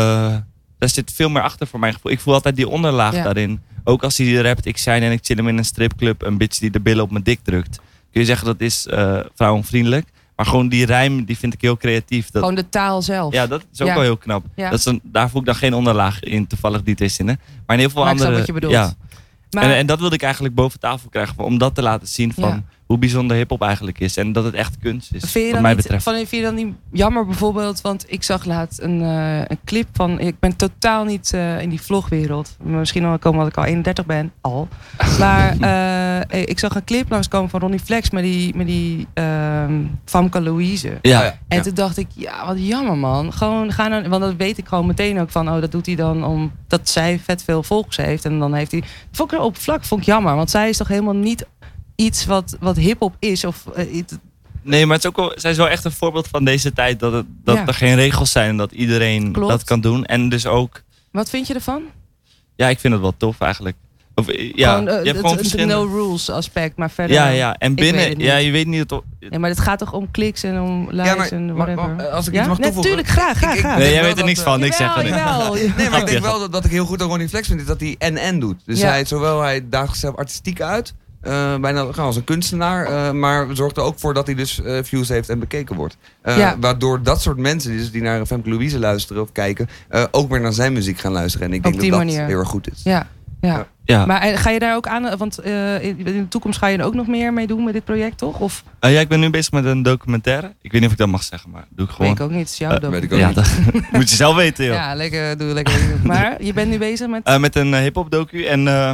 daar zit veel meer achter voor mijn gevoel. Ik voel altijd die onderlaag Ja. daarin. Ook als hij rapt, ik zijn en ik chill hem in een stripclub. Een bitch die de billen op mijn dik drukt. Kun je zeggen dat is eh, vrouwenvriendelijk. Maar gewoon die rijm, die vind ik heel creatief. Dat, Gewoon de taal zelf. ja, dat is ook Ja. wel heel knap. Ja. Dat is een, daar voel ik dan geen onderlaag in, toevallig die twee zinnen. Maar in heel veel Maar ik snap andere... wat je bedoelt. Ja, maar, en, en dat wilde ik eigenlijk boven tafel krijgen. Om dat te laten zien van Ja. hoe bijzonder hip-hop eigenlijk is. En dat het echt kunst is. Vind je, wat dan mij niet, betreft. van, vind je dan niet jammer bijvoorbeeld? Want ik zag laatst een, eh, een clip van. Ik ben totaal niet eh, in die vlogwereld. Misschien al komen dat ik al 31 ben. (laughs) Al. Maar eh, ik zag een clip langskomen van Ronnie Flex met die, met die ehm, Famke Louise. Ja, Oh ja. En toen dacht ik, ja, wat jammer man. Gewoon gaan dan, want dat weet ik gewoon meteen ook van, oh, dat doet hij dan omdat zij vet veel volgers heeft. En dan heeft hij. Vond ik er op vlak, vond ik jammer. Want zij is toch helemaal niet iets wat, wat hip-hop is. Of eh, iets- Nee, maar het is ook wel, zij is wel echt een voorbeeld van deze tijd. Dat, het, dat Ja. er geen regels zijn. en Dat iedereen Klopt. dat kan doen. En dus ook... Wat vind je ervan? Ja, ik vind het wel tof eigenlijk. Of, eh, ja, gewoon, eh, je hebt het- gewoon het verschillende... no rules aspect, maar verder. ja, ja. En eh, Ik weet binnen... het niet. Ja, je weet niet... Dat, Nee, maar het gaat toch om kliks en om likes maar- en maar- whatever. maar, eh, als ik ja? iets mag toevoegen. Natuurlijk, graag, graag, Ik- ik- graag. nee, denk jij wel weet er dat, niks eh, van. Niks Jawel, zeggen. niks. jawel. (laughs) Nee, maar ik denk Ja. wel dat wat ik heel goed aan Ronnie Flex vind, is dat hij en-en doet. Dus Ja. hij, zowel hij daagt zichzelf artistiek uit, eh, bijna gewoon als een kunstenaar, eh, maar zorgt er ook voor dat hij dus eh, views heeft en bekeken wordt. Eh, Ja. Waardoor dat soort mensen die dus die naar Femke Louise luisteren of kijken, eh, ook weer naar zijn muziek gaan luisteren. En ik Op denk die dat manier. dat heel erg goed is. Ja, ja. Ja. Ja. Maar eh, ga je daar ook aan, want eh, in in de toekomst ga je er ook nog meer mee doen met dit project, toch? Of Eh, ja, ik ben nu bezig met een documentaire. Ik weet niet of ik dat mag zeggen, maar doe ik gewoon. weet ik ook niet, het is jouw Eh, dood. weet ik ook ja, niet. dat (laughs) (laughs) moet je zelf weten, joh. Ja, lekker, doe lekker. maar je bent nu bezig met... Eh, met een eh, hip-hop docu. En eh,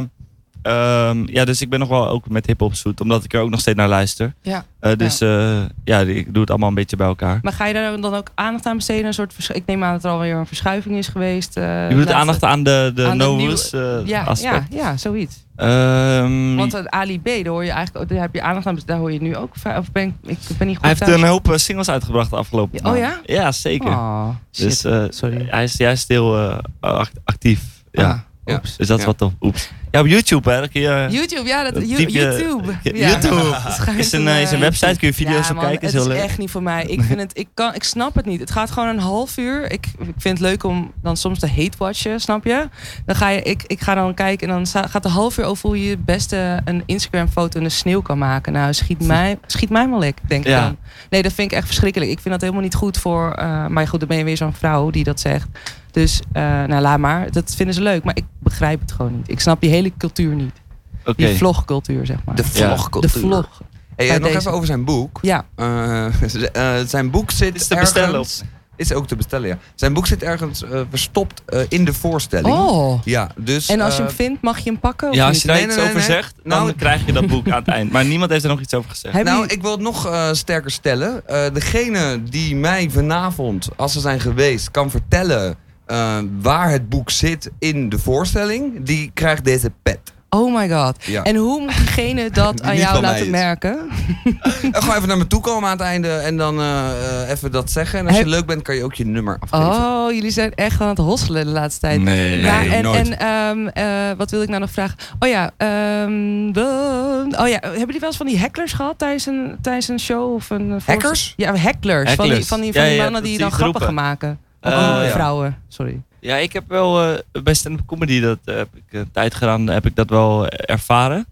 ehm, ja, dus ik ben nog wel ook met hip-hop zoet, omdat ik er ook nog steeds naar luister. Ja. Eh, dus eh, ja, ik doe het allemaal een beetje bij elkaar. Maar ga je daar dan ook aandacht aan besteden? Een soort versch- ik neem aan dat er alweer een verschuiving is geweest. eh, Je doet laatste- aandacht aan de, de aan de no nieuwe- rules eh, ja, ja, aspect. ja, zoiets. Ehm, Want eh, Ali B, daar hoor je eigenlijk, ook- daar heb je aandacht aan, daar hoor je nu ook. va- Of ben ik, ik ben niet goed hij heeft thuis. een hoop eh, singles uitgebracht de afgelopen Ja, oh maand. Ja, zeker. Oh, shit. dus eh, Sorry. hij is juist heel eh, act- actief. Ja. Ah, Ja. oeps. Dus dat is Ja. wat tof. Oeps. Ja, op YouTube hè. dan kun je- YouTube, ja, dat, eh, Dat you- typ je- YouTube. Ja. YouTube. (laughs) Schuin Is een, een, eh, is een eh, website, kun je video's ja, op man, kijken. Is het heel leuk. is echt niet voor mij. Ik, vind het, ik, kan, ik snap het niet. Het gaat gewoon een half uur. Ik, ik vind het leuk om dan soms te hate-watchen, snap je? Dan ga je, ik, ik ga dan kijken en dan sta- gaat een half uur over hoe je het beste een Instagram-foto in de sneeuw kan maken. Nou, schiet mij, schiet mij maar lek, denk ik Ja. dan. Nee, dat vind ik echt verschrikkelijk. Ik vind dat helemaal niet goed voor... eh, maar goed, dan ben je weer zo'n vrouw die dat zegt. Dus, eh, nou, laat maar. Dat vinden ze leuk. Maar ik begrijp het gewoon niet. Ik snap die hele cultuur niet. Oké. Die vlogcultuur, zeg maar. De De vlogcultuur. vlog. Hey, Bij en nog deze. even over zijn boek. Ja. Eh, (laughs) z- eh, zijn boek zit Is te bestellen op. ergens- Is ook te bestellen, ja. Zijn boek zit ergens eh, verstopt eh, in de voorstelling. Oh. Ja, dus... En als je eh, hem vindt, mag je hem pakken? of Ja, als niet? je daar Nee, iets nee, nee, over nee. zegt, Nou, dan krijg je dat boek aan het eind. Maar niemand heeft er nog iets over gezegd. Hebben Nou, jullie- ik wil het nog eh, sterker stellen. Eh, degene die mij vanavond, als ze zijn geweest, kan vertellen eh, waar het boek zit in de voorstelling, die krijgt deze pet. Oh my god. Ja. En hoe moet (laughs) diegene dat Die aan niet jou van mij laten is. merken? Eh, gewoon even naar me toe komen aan het einde en dan eh, eh, even dat zeggen. En als je Heb- leuk bent, kan je ook je nummer afgeven. Oh, jullie zijn echt aan het hosselen de laatste tijd. Nee. Ja, Nee, en nooit. en ehm, eh, wat wil ik nou nog vragen? Oh ja, ehm, dan- oh ja, hebben jullie wel eens van die hacklers gehad tijdens een, tijdens een show? Of een eh, voorst- Hackers? Ja, hacklers. Van die, Hacklers. van die, van Ja, die ja, mannen dat die die dan grappen gaan groepen. maken. Of Eh, andere ja. vrouwen, sorry. Ja, ik heb wel eh, bij stand-up comedy, dat eh, heb ik een tijd gedaan, heb ik dat wel ervaren.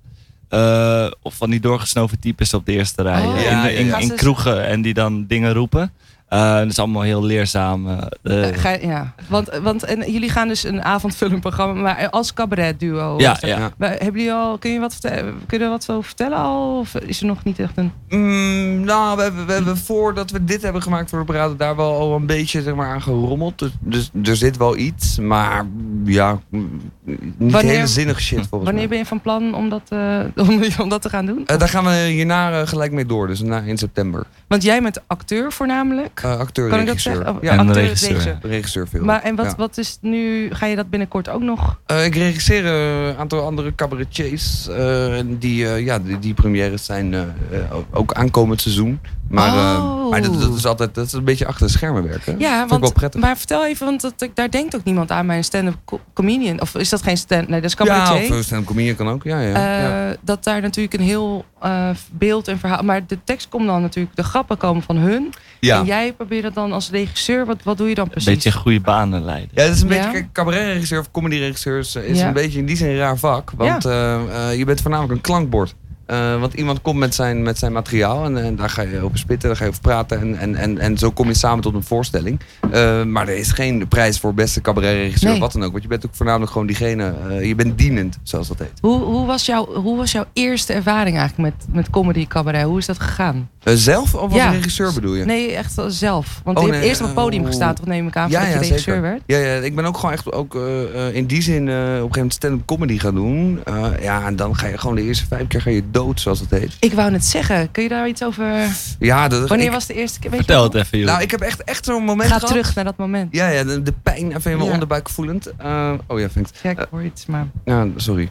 Eh, of van die doorgesnoven types op de eerste rij. Oh. eh, Ja, in, in, ja, ja. in kroegen en die dan dingen roepen. Eh, dat is allemaal heel leerzaam. eh, eh, Eh, ga- ja. Want, want en jullie gaan dus een avondvullend programma, maar als cabaret duo. ja, ja. Maar hebben jullie al, kun je, wat vertel- kun je er wat over vertellen al? Of is er nog niet echt een... Mm, nou, we hebben, we hebben voordat we dit hebben gemaakt voor de beraden daar wel al een beetje zeg maar, aan gerommeld. Dus, dus er zit wel iets, maar ja, mm, niet Wanneer- hele zinnig shit volgens Wanneer mij. ben je van plan om dat, eh, (laughs) om, om dat te gaan doen? Eh, daar gaan we hierna eh, gelijk mee door, dus na, in september. Want jij bent acteur voornamelijk. Eh acteur, kan ik dat regisseur. zeggen? Oh, Ja, En acteur, regisseur. regisseur. regisseur film. Maar en wat, Ja. wat is nu, ga je dat binnenkort ook nog? Eh, ik regisseer eh, een aantal andere cabaretiers. eh, en die, eh, ja, die, die premières zijn eh, eh, ook aankomend seizoen. Maar, eh, Oh. maar dat, dat is altijd dat is een beetje achter de schermen werken. Ja, Vind ik want, wel prettig. maar vertel even, want dat, daar denkt ook niemand aan bij een stand-up co- comedian. Of is dat geen stand Nee, dat is ja, of cabaretier. eh, stand-up comedian kan ook. Ja, ja, ja. Eh, Dat daar natuurlijk een heel eh, beeld en verhaal... Maar de tekst komt dan natuurlijk, de grappen komen van hun. Ja. En jij probeert dat dan als regisseur, wat, wat doe je dan Een precies? beetje goede banen leiden. Ja, dat is een Ja. beetje, kijk, cabaretregisseur of comedyregisseur is, is Ja. een beetje in die zin een raar vak. Want eh, eh, je bent voornamelijk een klankbord. Eh, want iemand komt met zijn, met zijn materiaal en, en daar ga je over spitten, daar ga je over praten. En, en, en, en zo kom je samen tot een voorstelling. Eh, maar er is geen prijs voor beste cabaretregisseur Nee. of wat dan ook. Want je bent ook voornamelijk gewoon diegene, eh, je bent dienend, zoals dat heet. Hoe, hoe, was jouw, hoe was jouw eerste ervaring eigenlijk met, met comedy cabaret? Hoe is dat gegaan? Eh, zelf of als Ja. regisseur bedoel je? Nee, echt wel zelf. Want Oh, je hebt nee, eerst op het eh, podium oh. gestaan, toch neem ik aan, Ja, voordat ja, je regisseur zeker. werd? Ja, ja, ik ben ook gewoon echt ook, eh, eh, in die zin eh, op een gegeven moment stand-up comedy gaan doen. Eh, ja, en dan ga je gewoon de eerste vijf keer ga je dood, zoals dat heet. Ik wou net zeggen, kun je daar iets over... Ja, dat, Wanneer ik- was de eerste keer? Weet je Vertel nog? het even, joh. Nou, ik (laughs) heb echt, echt zo'n moment Ga gehad. terug naar dat moment. Ja, ja, de, de pijn even in mijn Ja. onderbuik voelend. Eh, oh ja, thanks. Ja, ik hoor iets, maar... Ja, sorry. (laughs)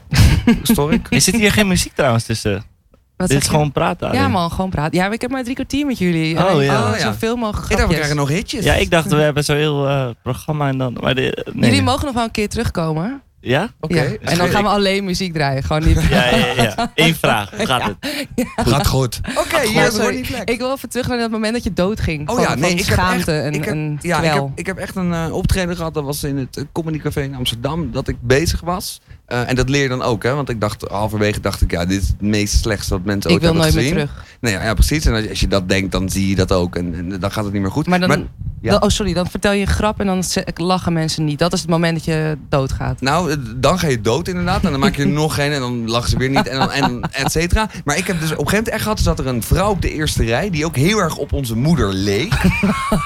Stoor ik? Er zit hier geen muziek trouwens tussen. Wat Dit zeg is je? gewoon praten. Ja alleen. man, gewoon praten. Ja, maar ik heb maar drie kwartier met jullie. Oh, Alleen- ja. Oh, ja. Zoveel mogelijk Ik dacht, we grapjes. krijgen nog hitjes. Ja, ik dacht we hebben zo'n heel eh, programma en dan... Maar de, nee. Jullie mogen nog wel een keer terugkomen. Ja? Oké. Ja. En dan gaan we alleen muziek draaien. Gewoon (laughs) niet. Ja, ja, ja. (laughs) Eén vraag. Hoe gaat het? Gaat goed. Oké, hier Ja, is sorry. Ronnie Fleck. Ik wil even terug naar dat moment dat je doodging. Oh van, ja, nee, van ik heb schaamte en, ik heb- en ja, ik kwel. heb, ik heb echt een eh, optreden gehad. Dat was in het eh, Comedy Café in Amsterdam. Dat ik bezig was. Eh, en dat leer je dan ook, hè? Want ik dacht, halverwege dacht ik, ja, dit is het meest slechtste wat mensen Ik ooit wil hebben nooit meer gezien. Nou terug. Nee, ja, ja, precies. En als je, als je dat denkt, dan zie je dat ook. En, en dan gaat het niet meer goed. Maar dan, Maar- Ja. Dan- oh, sorry, dan vertel je een grap en dan ze- lachen mensen niet. Dat is het moment dat je doodgaat. Nou, eh, dan ga je dood inderdaad. En dan (laughs) maak je er nog geen en dan lachen ze weer niet. En, dan, en et cetera. Maar ik heb dus op een gegeven moment echt gehad... zat er een vrouw op de eerste rij... die ook heel erg op onze moeder (laughs) leek.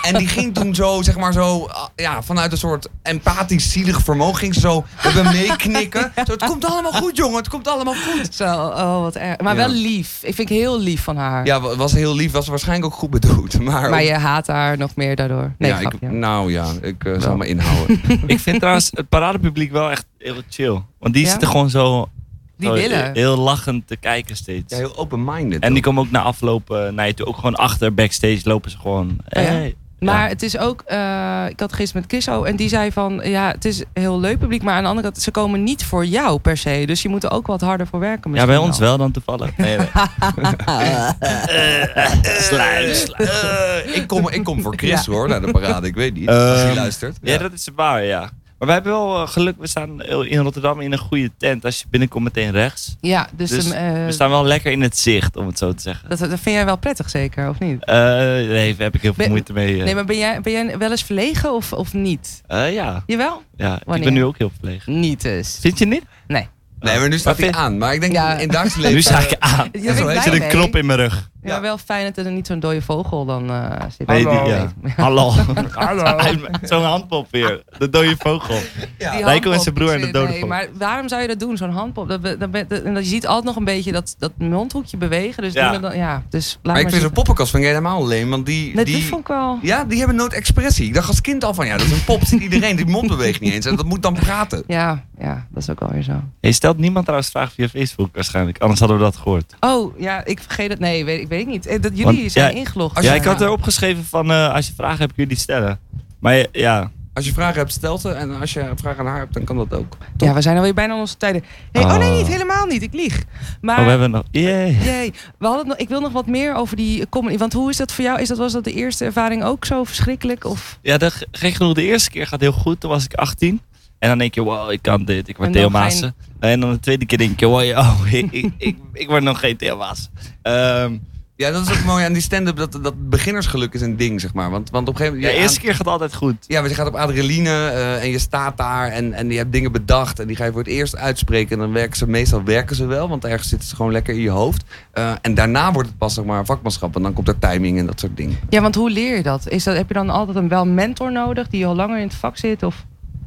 en die ging toen zo, zeg maar zo... ah, Ja, vanuit een soort empathisch zielig vermogen... ging ze zo met me (laughs) meeknikken. Zo, het komt allemaal goed, jongen. Het komt allemaal (laughs) goed. Zo, oh, wat erg. Maar Ja. wel lief. Ik vind het heel lief van haar. Ja, wa- was heel lief. Was waarschijnlijk ook goed bedoeld. (laughs) Maar, Maar je haat haar nog meer daardoor. Nee, ja, grapje. ik, nou ja, ik eh, zal me inhouden. Ik vind trouwens het paradepubliek wel echt heel chill. Want die Ja? zitten gewoon zo, Die zo willen. eh, heel lachend te kijken steeds. (laughs) Ja, heel open-minded. en die ook. komen ook na aflopen naar je toe. Ook gewoon achter backstage lopen ze gewoon. Oh ja? Hey. Maar Ja. het is ook, eh, ik had gisteren met Kisso en die zei van, ja, het is een heel leuk publiek, maar aan de andere kant, ze komen niet voor jou per se. Dus je moet er ook wat harder voor werken. Ja, misschien bij ons wel dan toevallig. (laughs) Nee, Eh, nee. Slijm, slijm. Eh, ik, kom, ik kom voor Chris hoor, naar de parade. Ik weet niet. als Ehm, hij luistert. Ja, dat is waar, ja. Maar wij hebben wel eh, geluk, we staan in Rotterdam in een goede tent. Als je binnenkomt meteen rechts. Ja, dus, Dus hem, eh, We staan wel lekker in het zicht, om het zo te zeggen. dat, dat vind jij wel prettig zeker, of niet? Eh, nee, daar heb ik heel veel Ben- moeite mee. eh. Nee, maar ben jij, ben jij wel eens verlegen of, of niet? Eh, ja, Jawel? ja. ik Wanneer? ben nu ook heel verlegen. Niet dus. Vind je niet? Nee. Nee, maar nu staat hij vind- aan. Maar ik denk Ja. in het dagelijks leven... Nu sta ik aan. Ja, ben ik zo heet blij Er zit een mee. knop in mijn rug. Ja, maar wel fijn dat er niet zo'n dode vogel dan eh zit. Nee, die, Hallo. ja. Hallo. (laughs) Hallo. Zo'n handpop weer. De dode vogel. Die Rijko en handpop, zijn broer en de dode nee, vogel. Maar waarom zou je dat doen, zo'n handpop? Dat, be- dat, be- dat- en dat, je ziet altijd nog een beetje dat, dat mondhoekje bewegen. Dus, Ja. ja. Dan, ja, dus laat Maar ik vind zo'n zitten. poppenkast van jij helemaal leem. Want die... Nee, die dat vond ik wel. Ja, die hebben nooit expressie. Ik dacht als kind al van, ja, dat is een pop. Ziet iedereen, die mond beweegt niet eens. En dat moet dan praten. Ja, ja, dat is ook alweer zo. Je stelt niemand trouwens vragen via Facebook waarschijnlijk. Anders hadden we dat gehoord. Oh, ja, ik vergeet het. Nee, weet, ik weet niet. Eh, Dat, jullie Want, zijn ja, ingelogd. als ja, je- ik had erop geschreven van eh, als je vragen hebt kun je die stellen. Maar je- ja, Als je vragen hebt, stel ze. En als je vragen aan haar hebt, dan kan dat ook. Ja, we zijn alweer bijna aan onze tijden. Hey, oh. Oh. nee, niet helemaal niet. Ik lieg. Maar oh, we hebben nog... Yay. Jee, we hadden het nog, ik wil nog wat meer over die comedy. Want hoe is dat voor jou? Is dat, was dat de eerste ervaring ook zo verschrikkelijk? Of, Ja, dat, gek genoeg, de eerste keer gaat heel goed. Toen was ik 18. En dan denk je, wow, ik kan dit. Ik word En dan Theo ga je- Maassen. En dan de tweede keer denk je, wow, (laughs) oh, ik, ik, ik, ik word nog geen Theo Maassen. Ehm, Ja, dat is ook mooi aan die stand-up. Dat, dat beginnersgeluk is een ding, zeg maar. Want, want op een gegeven ja, moment... de je eerste keer gaat altijd goed. Ja, want je gaat op adrenaline eh, en je staat daar en, en je hebt dingen bedacht en die ga je voor het eerst uitspreken. En dan werken ze, meestal werken ze wel, want ergens zitten ze gewoon lekker in je hoofd. Eh, en daarna wordt het pas zeg maar vakmanschap en dan komt er timing en dat soort dingen. ja, want hoe leer je dat? Is dat? Heb je dan altijd een wel mentor nodig die al langer in het vak zit? Of,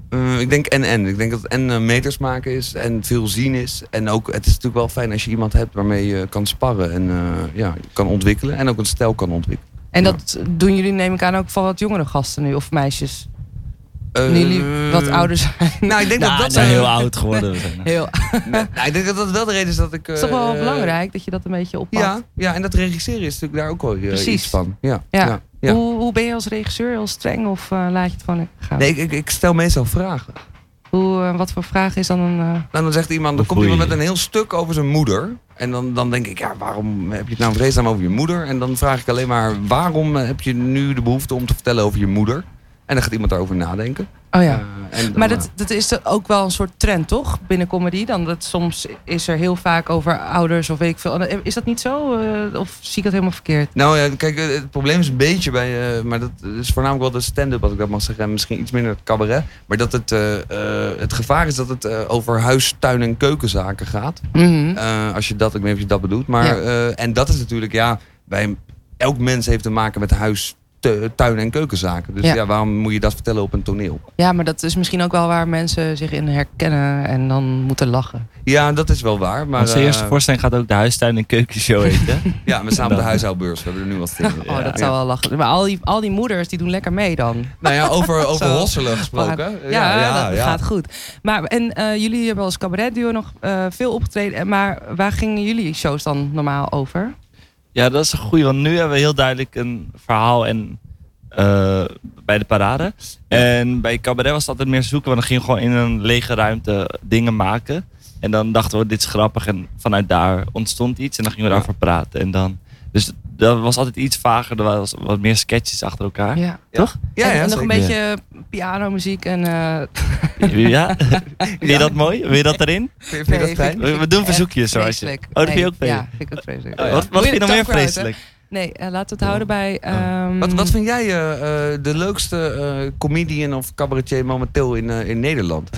Eh, ik denk en en. Ik denk dat en eh, meters maken is en veel zien is. En ook, het is natuurlijk wel fijn als je iemand hebt waarmee je kan sparren en eh, ja, kan ontwikkelen. En ook een stijl kan ontwikkelen. en Ja. dat doen jullie neem ik aan ook van wat jongere gasten nu. Of meisjes. Eh, Nu jullie wat ouder zijn. (laughs) Nou, ik Nou, ik denk dat dat ben zijn- heel oud geworden. we zijn. Heel, (laughs) Nou, ik denk dat dat wel de reden is dat ik... het is toch wel eh, belangrijk dat je dat een beetje oppakt? Ja, ja, en dat regisseren is natuurlijk daar ook wel eh, Precies. iets van. Ja, Ja. ja. ja. Hoe, hoe ben je als regisseur heel streng of eh, laat je het gewoon lekker gaan? Nee, ik, ik, ik stel meestal vragen. Hoe, eh, wat voor vraag is dan een... eh, Nou, dan zegt iemand, dan Hoe komt voel je iemand met je? een heel stuk over zijn moeder. En dan, dan denk ik, ja, waarom heb je het nou in vredesnaam over je moeder? En dan vraag ik alleen maar, waarom eh, heb je nu de behoefte om te vertellen over je moeder? En dan gaat iemand daarover nadenken. oh ja. Eh, en dan, Maar eh, dat, dat is toch ook wel een soort trend, toch? Binnen comedy. Dan dat soms is er heel vaak over ouders of weet ik veel. Oh, Is dat niet zo? eh, of zie ik dat helemaal verkeerd? Nou ja, kijk, eh, het probleem is een beetje bij, eh, maar dat is voornamelijk wel de stand-up, als ik dat mag zeggen, en misschien iets minder het cabaret. Maar dat het, eh, eh, het gevaar is dat het eh, over huis, tuin en keukenzaken gaat. Mhm. Eh, als je dat, ik weet niet of je dat bedoelt. Maar, Hm? Ja. eh, en dat is natuurlijk, ja, bij, elk mens heeft te maken met huis, tu- tuin en keukenzaken. Dus Ja. ja. waarom moet je dat vertellen op een toneel? Ja, maar dat is misschien ook wel waar mensen zich in herkennen en dan moeten lachen. Ja, dat is wel waar. Maar, Onze eh, eerste voorstelling gaat ook de huistuin en keukenshow (laughs) heten. ja, we staan op de Dan. huishoudbeurs. We hebben er nu wat tegen. (laughs) Oh, dat zou wel lachen. Maar al die, al die moeders die doen lekker mee dan. Nou ja, (laughs) over, over Zo. hosselen gesproken. Ja, dat gaat goed. Maar en eh, jullie hebben als cabaretduo nog eh, veel opgetreden. En Maar waar gingen jullie shows dan normaal over? ja, dat is een goeie, want nu hebben we heel duidelijk een verhaal en, eh, bij de parade. En bij cabaret was het altijd meer zoeken, want dan gingen we gewoon in een lege ruimte dingen maken. En dan dachten we, dit is grappig en vanuit daar ontstond iets en dan gingen we Ja. daarover praten. En dan, dus dat was altijd iets vager, er was wat meer sketches achter elkaar. Ja, Ja. Toch? Ja, en, ja, en nog een zeker. beetje pianomuziek en... eh, (laughs) Vind je dat mooi? Wil je dat erin? (laughs) Vind je dat Nee, fijn? vind ik- We- we vind ik doen echt verzoekjes, zoals je- vreselijk. Oh, dat vind je ook Nee, vreselijk? Ja, vind ik ook vreselijk. Oh, ja. Wat, wat Moet vind het je dan weer ook wel uit, hè? vreselijk? Nee, eh, laat het houden bij... ehm, Oh. Wat, wat vind jij eh, eh, de leukste eh, comedian of cabaretier momenteel in, eh, in Nederland?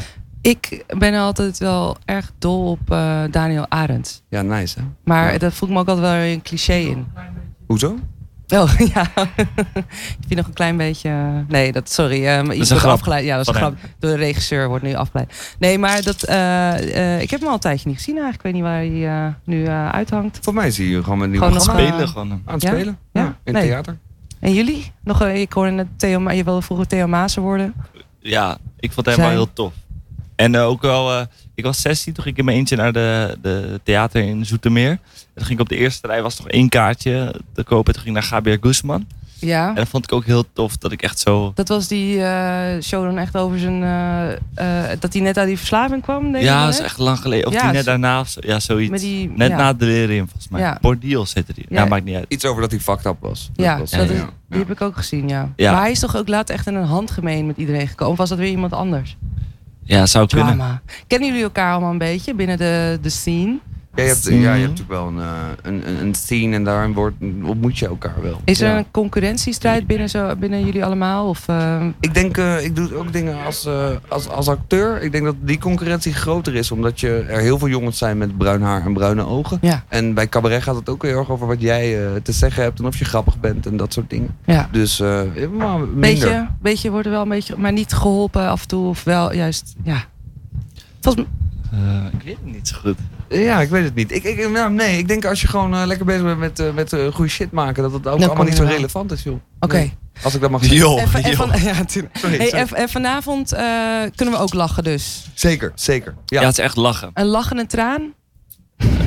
Ik ben altijd wel erg dol op eh, Daniel Arendt. Ja, nice hè? Maar Ja. dat voelt me ook altijd wel weer een cliché in. Hoezo? Oh, (laughs) ja. Heb je nog een klein beetje... Nee, dat, sorry. eh, maar je een wordt grap Afgeleid. Ja, dat is van een hem. grap. Door de regisseur wordt nu afgeleid. Nee, maar dat, eh, eh, ik heb hem al een tijdje niet gezien eigenlijk. Ik weet niet waar hij eh, nu eh, uithangt. Voor mij zie je hem gewoon een nieuw Gewoon programma nog, eh, Spelen gewoon. aan het Ja? spelen. Ja, Ja? in Nee. theater. En jullie? Nog, eh, ik hoorde net Theo, Ma- je wilde vroeger Theo Maassen worden. Ja, ik vond hem wel Zijn- heel tof. En eh, ook wel, eh, ik was 16, toen ging ik in mijn eentje naar de, de theater in Zoetermeer. En toen ging ik op de eerste rij, was nog één kaartje te kopen. Toen ging ik naar Gabriel Guzman. Ja. En dat vond ik ook heel tof, dat ik echt zo... Dat was die eh, show dan echt over zijn... eh, eh, dat hij net uit die verslaving kwam, denk ik. ja, dan, dat is hè? echt lang geleden. Of Ja, die net zo- daarna of zo. Ja, zoiets. Met die, Net ja. na het delirium volgens mij. Ja. Bordeaux zit er hier. Ja. Ja. maakt niet uit. Iets over dat hij fucked up was. Ja, was dat eh, is- ja. Die heb ik ook gezien, ja. Ja. Maar hij is toch ook later echt in een handgemeen met iedereen gekomen? Of was dat weer iemand anders? Ja, zou kunnen. Drama. Kennen jullie elkaar allemaal een beetje binnen de, de scene? Ja, je hebt, ja, je hebt natuurlijk wel een, eh, een, een, een scene en daarin wordt, ontmoet je elkaar wel. Is er Ja. een concurrentiestrijd binnen, zo, binnen jullie allemaal? Of, eh, Ik denk, eh, ik doe ook dingen als, eh, als, als acteur. Ik denk dat die concurrentie groter is, omdat je, er heel veel jongens zijn met bruin haar en bruine ogen. ja, En bij cabaret gaat het ook heel erg over wat jij eh, te zeggen hebt en of je grappig bent en dat soort dingen. ja. Dus eh maar minder. Beetje, beetje worden wel een beetje, maar niet geholpen af en toe. Of wel juist, ja. Volgens m- Eh, ik weet het niet zo goed. Ja, ik weet het niet. Ik, ik, nou, nee, ik denk als je gewoon eh, lekker bezig bent met, eh, met eh, goede shit maken, dat het ook kom allemaal niet je zo wel. relevant is, joh. Oké. Nee. Als ik dat (laughs) mag zeggen. Joh, En van- en joh. van- ja, tuurlijk. Sorry, Hey, sorry. en, en vanavond eh, kunnen we ook lachen dus. Zeker, zeker. Ja, Ja. het is echt (laughs) lachen. Een lach en een traan?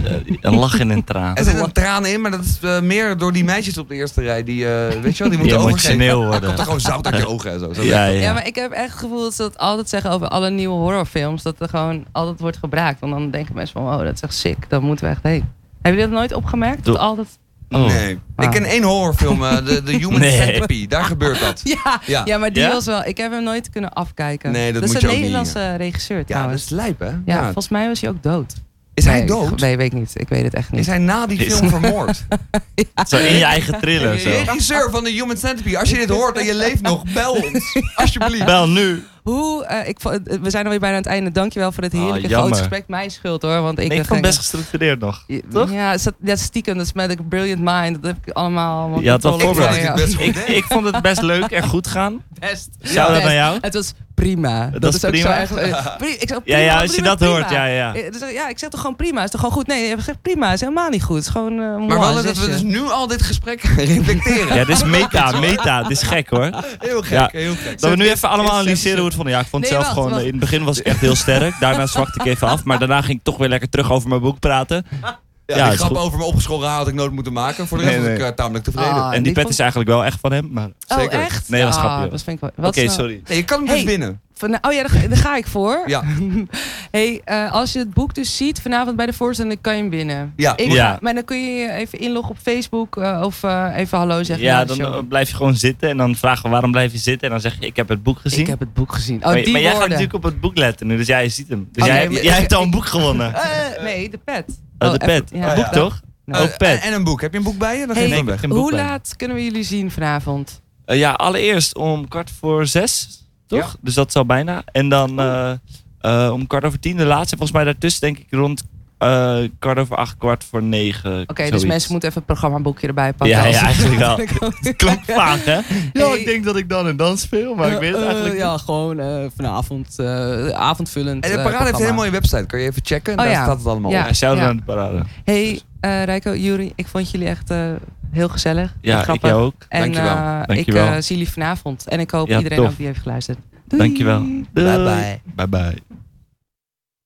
Eh, een lach en een traan. Er zit een traan in, maar dat is eh, meer door die meisjes op de eerste rij. Die, eh, weet je wel, die Die moeten overgeven. emotioneel Dan komt er worden. gewoon zout uit je ogen en zo. zo Ja, Ja. ja. maar ik heb echt het gevoel dat ze dat altijd zeggen over alle nieuwe horrorfilms. Dat er gewoon altijd wordt gebruikt. Want dan denken mensen van, oh, dat is echt sick. Daar moeten we echt heen. Hebben jullie dat nooit opgemerkt? Dat Doe- altijd... Oh. Nee. Wauw. Ik ken één horrorfilm, eh, de, de Human Nee. Centipede. Daar gebeurt dat. (laughs) Ja, Ja. ja. maar die Ja? was wel... Ik heb hem nooit kunnen afkijken. Nee, dat moet is een je ook niet, Nederlandse regisseur Ja, dat trouwens. is lijp, hè? Ja, Ja. volgens mij was hij ook dood. Is hij Nee, dood? Nee, weet ik niet. Ik weet het echt Is niet. hij na die film vermoord? (laughs) Zo in je eigen (laughs) trillen. Zo. Regisseur van de Human Centipede, als je dit hoort en je leeft nog, bel (laughs) ons. Alsjeblieft. Bel nu. Hoe, eh, ik, vo- eh, we zijn alweer bijna aan het einde. Dankjewel voor dit Ah, heerlijke jammer. grote gesprek. Mijn schuld hoor, want ik... Nee, ik ben vond het geen- best gestructureerd nog. Ja, toch? Ja, dat is- dat is stiekem. Dat is met een brilliant mind. Dat heb ik allemaal... allemaal Je had wel controle. voorbereid. Ja, ja. Ik best goed Ik, deed. ik vond het best leuk en goed gaan. Best. Zou dat Best. aan jou? Het was prima. Het dat was is ook zo prima? erg. (laughs) eh, pri- Ik zeg, Ja, prima, ja, als je prima, dat prima. hoort. Ja, ja. Eh, dus, eh, ja, ik zeg toch gewoon prima. Is toch gewoon goed? Nee, je hebt gezegd prima. Is helemaal niet goed. Is gewoon. eh Maar moi, wel dat we zesje. dus nu al dit gesprek (laughs) reflecteren. Ja, dit is meta, meta. Dit is gek hoor. Heel gek, Ja. heel gek. Dat we nu even allemaal analyseren hoe het vond. Ja, ik vond het Nee, zelf wacht, gewoon... eh, wacht. In het begin was ik echt heel sterk. Daarna zwakte ik even af. Maar daarna ging ik toch weer lekker terug over mijn boek praten. Ah, Ja, Ja, die is grap goed. over mijn opgeschoren haar had ik nooit moeten maken. Voor de rest Nee, was ik nee. eh, tamelijk tevreden. Ah, En die die pet vond- is eigenlijk wel echt van hem. Maar... Oh, Zeker. echt? Nee, dat is Ah, grapje. dat vind ik wel. Oké, wat is nou- sorry. Nee, je kan hem dus Hey. winnen. Van, oh ja, daar, ga- daar ga ik voor. Ja. hey, eh, als je het boek dus ziet vanavond bij de voorstelling, kan je hem winnen. Ja. Ik Ja. ga- maar dan kun je even inloggen op Facebook eh, of eh, even hallo zeggen. Ja, na de dan show. eh, blijf je gewoon zitten. En dan vragen we waarom blijf je zitten. En dan zeg je, ik heb het boek gezien. Ik heb het boek gezien. Oh, maar die maar jij gaat woorden. natuurlijk op het boek letten nu. Dus jij ziet hem. Dus Oh, jij, nee, maar- jij hebt al een boek gewonnen. Oh, Eh, nee, de pet. Oh, de even- pet. ja. Een boek toch? Nou, ook Eh, pet. En een boek. Heb je een boek bij je? Hey. Dan geef je hem Nee, weg. geen boek Hoe bij. laat kunnen we jullie zien vanavond? Eh, ja, allereerst om kwart voor zes, toch? Ja. Dus dat zal bijna. En dan eh, eh, om kwart over tien de laatste. Volgens mij daartussen denk ik rond eh, kwart over acht, kwart voor negen. Oké, dus mensen moeten even het programmaboekje erbij pakken. Ja, als ja, ze- eigenlijk (laughs) wel. Klopt vaak, hè? Ja, Hey. ik denk dat ik dan en dan speel, maar ik weet het Eh, eigenlijk niet. ja, gewoon eh, vanavond eh, avondvullend. En de eh, Parade heeft een programma. hele mooie website. Kan je even checken? Oh, Daar ja. staat het allemaal Ja. op. Ja, shout-out ja. aan de parade. Hey, eh Rijko, Juri, ik vond jullie echt eh, heel gezellig. en Ja, ik grappig. jou ook. En Dankjewel. eh, ik Dankjewel. eh, zie jullie vanavond. En ik hoop Ja, iedereen tof. ook die heeft geluisterd. Doei. Dankjewel. Doei. Bye bye. Bye-bye.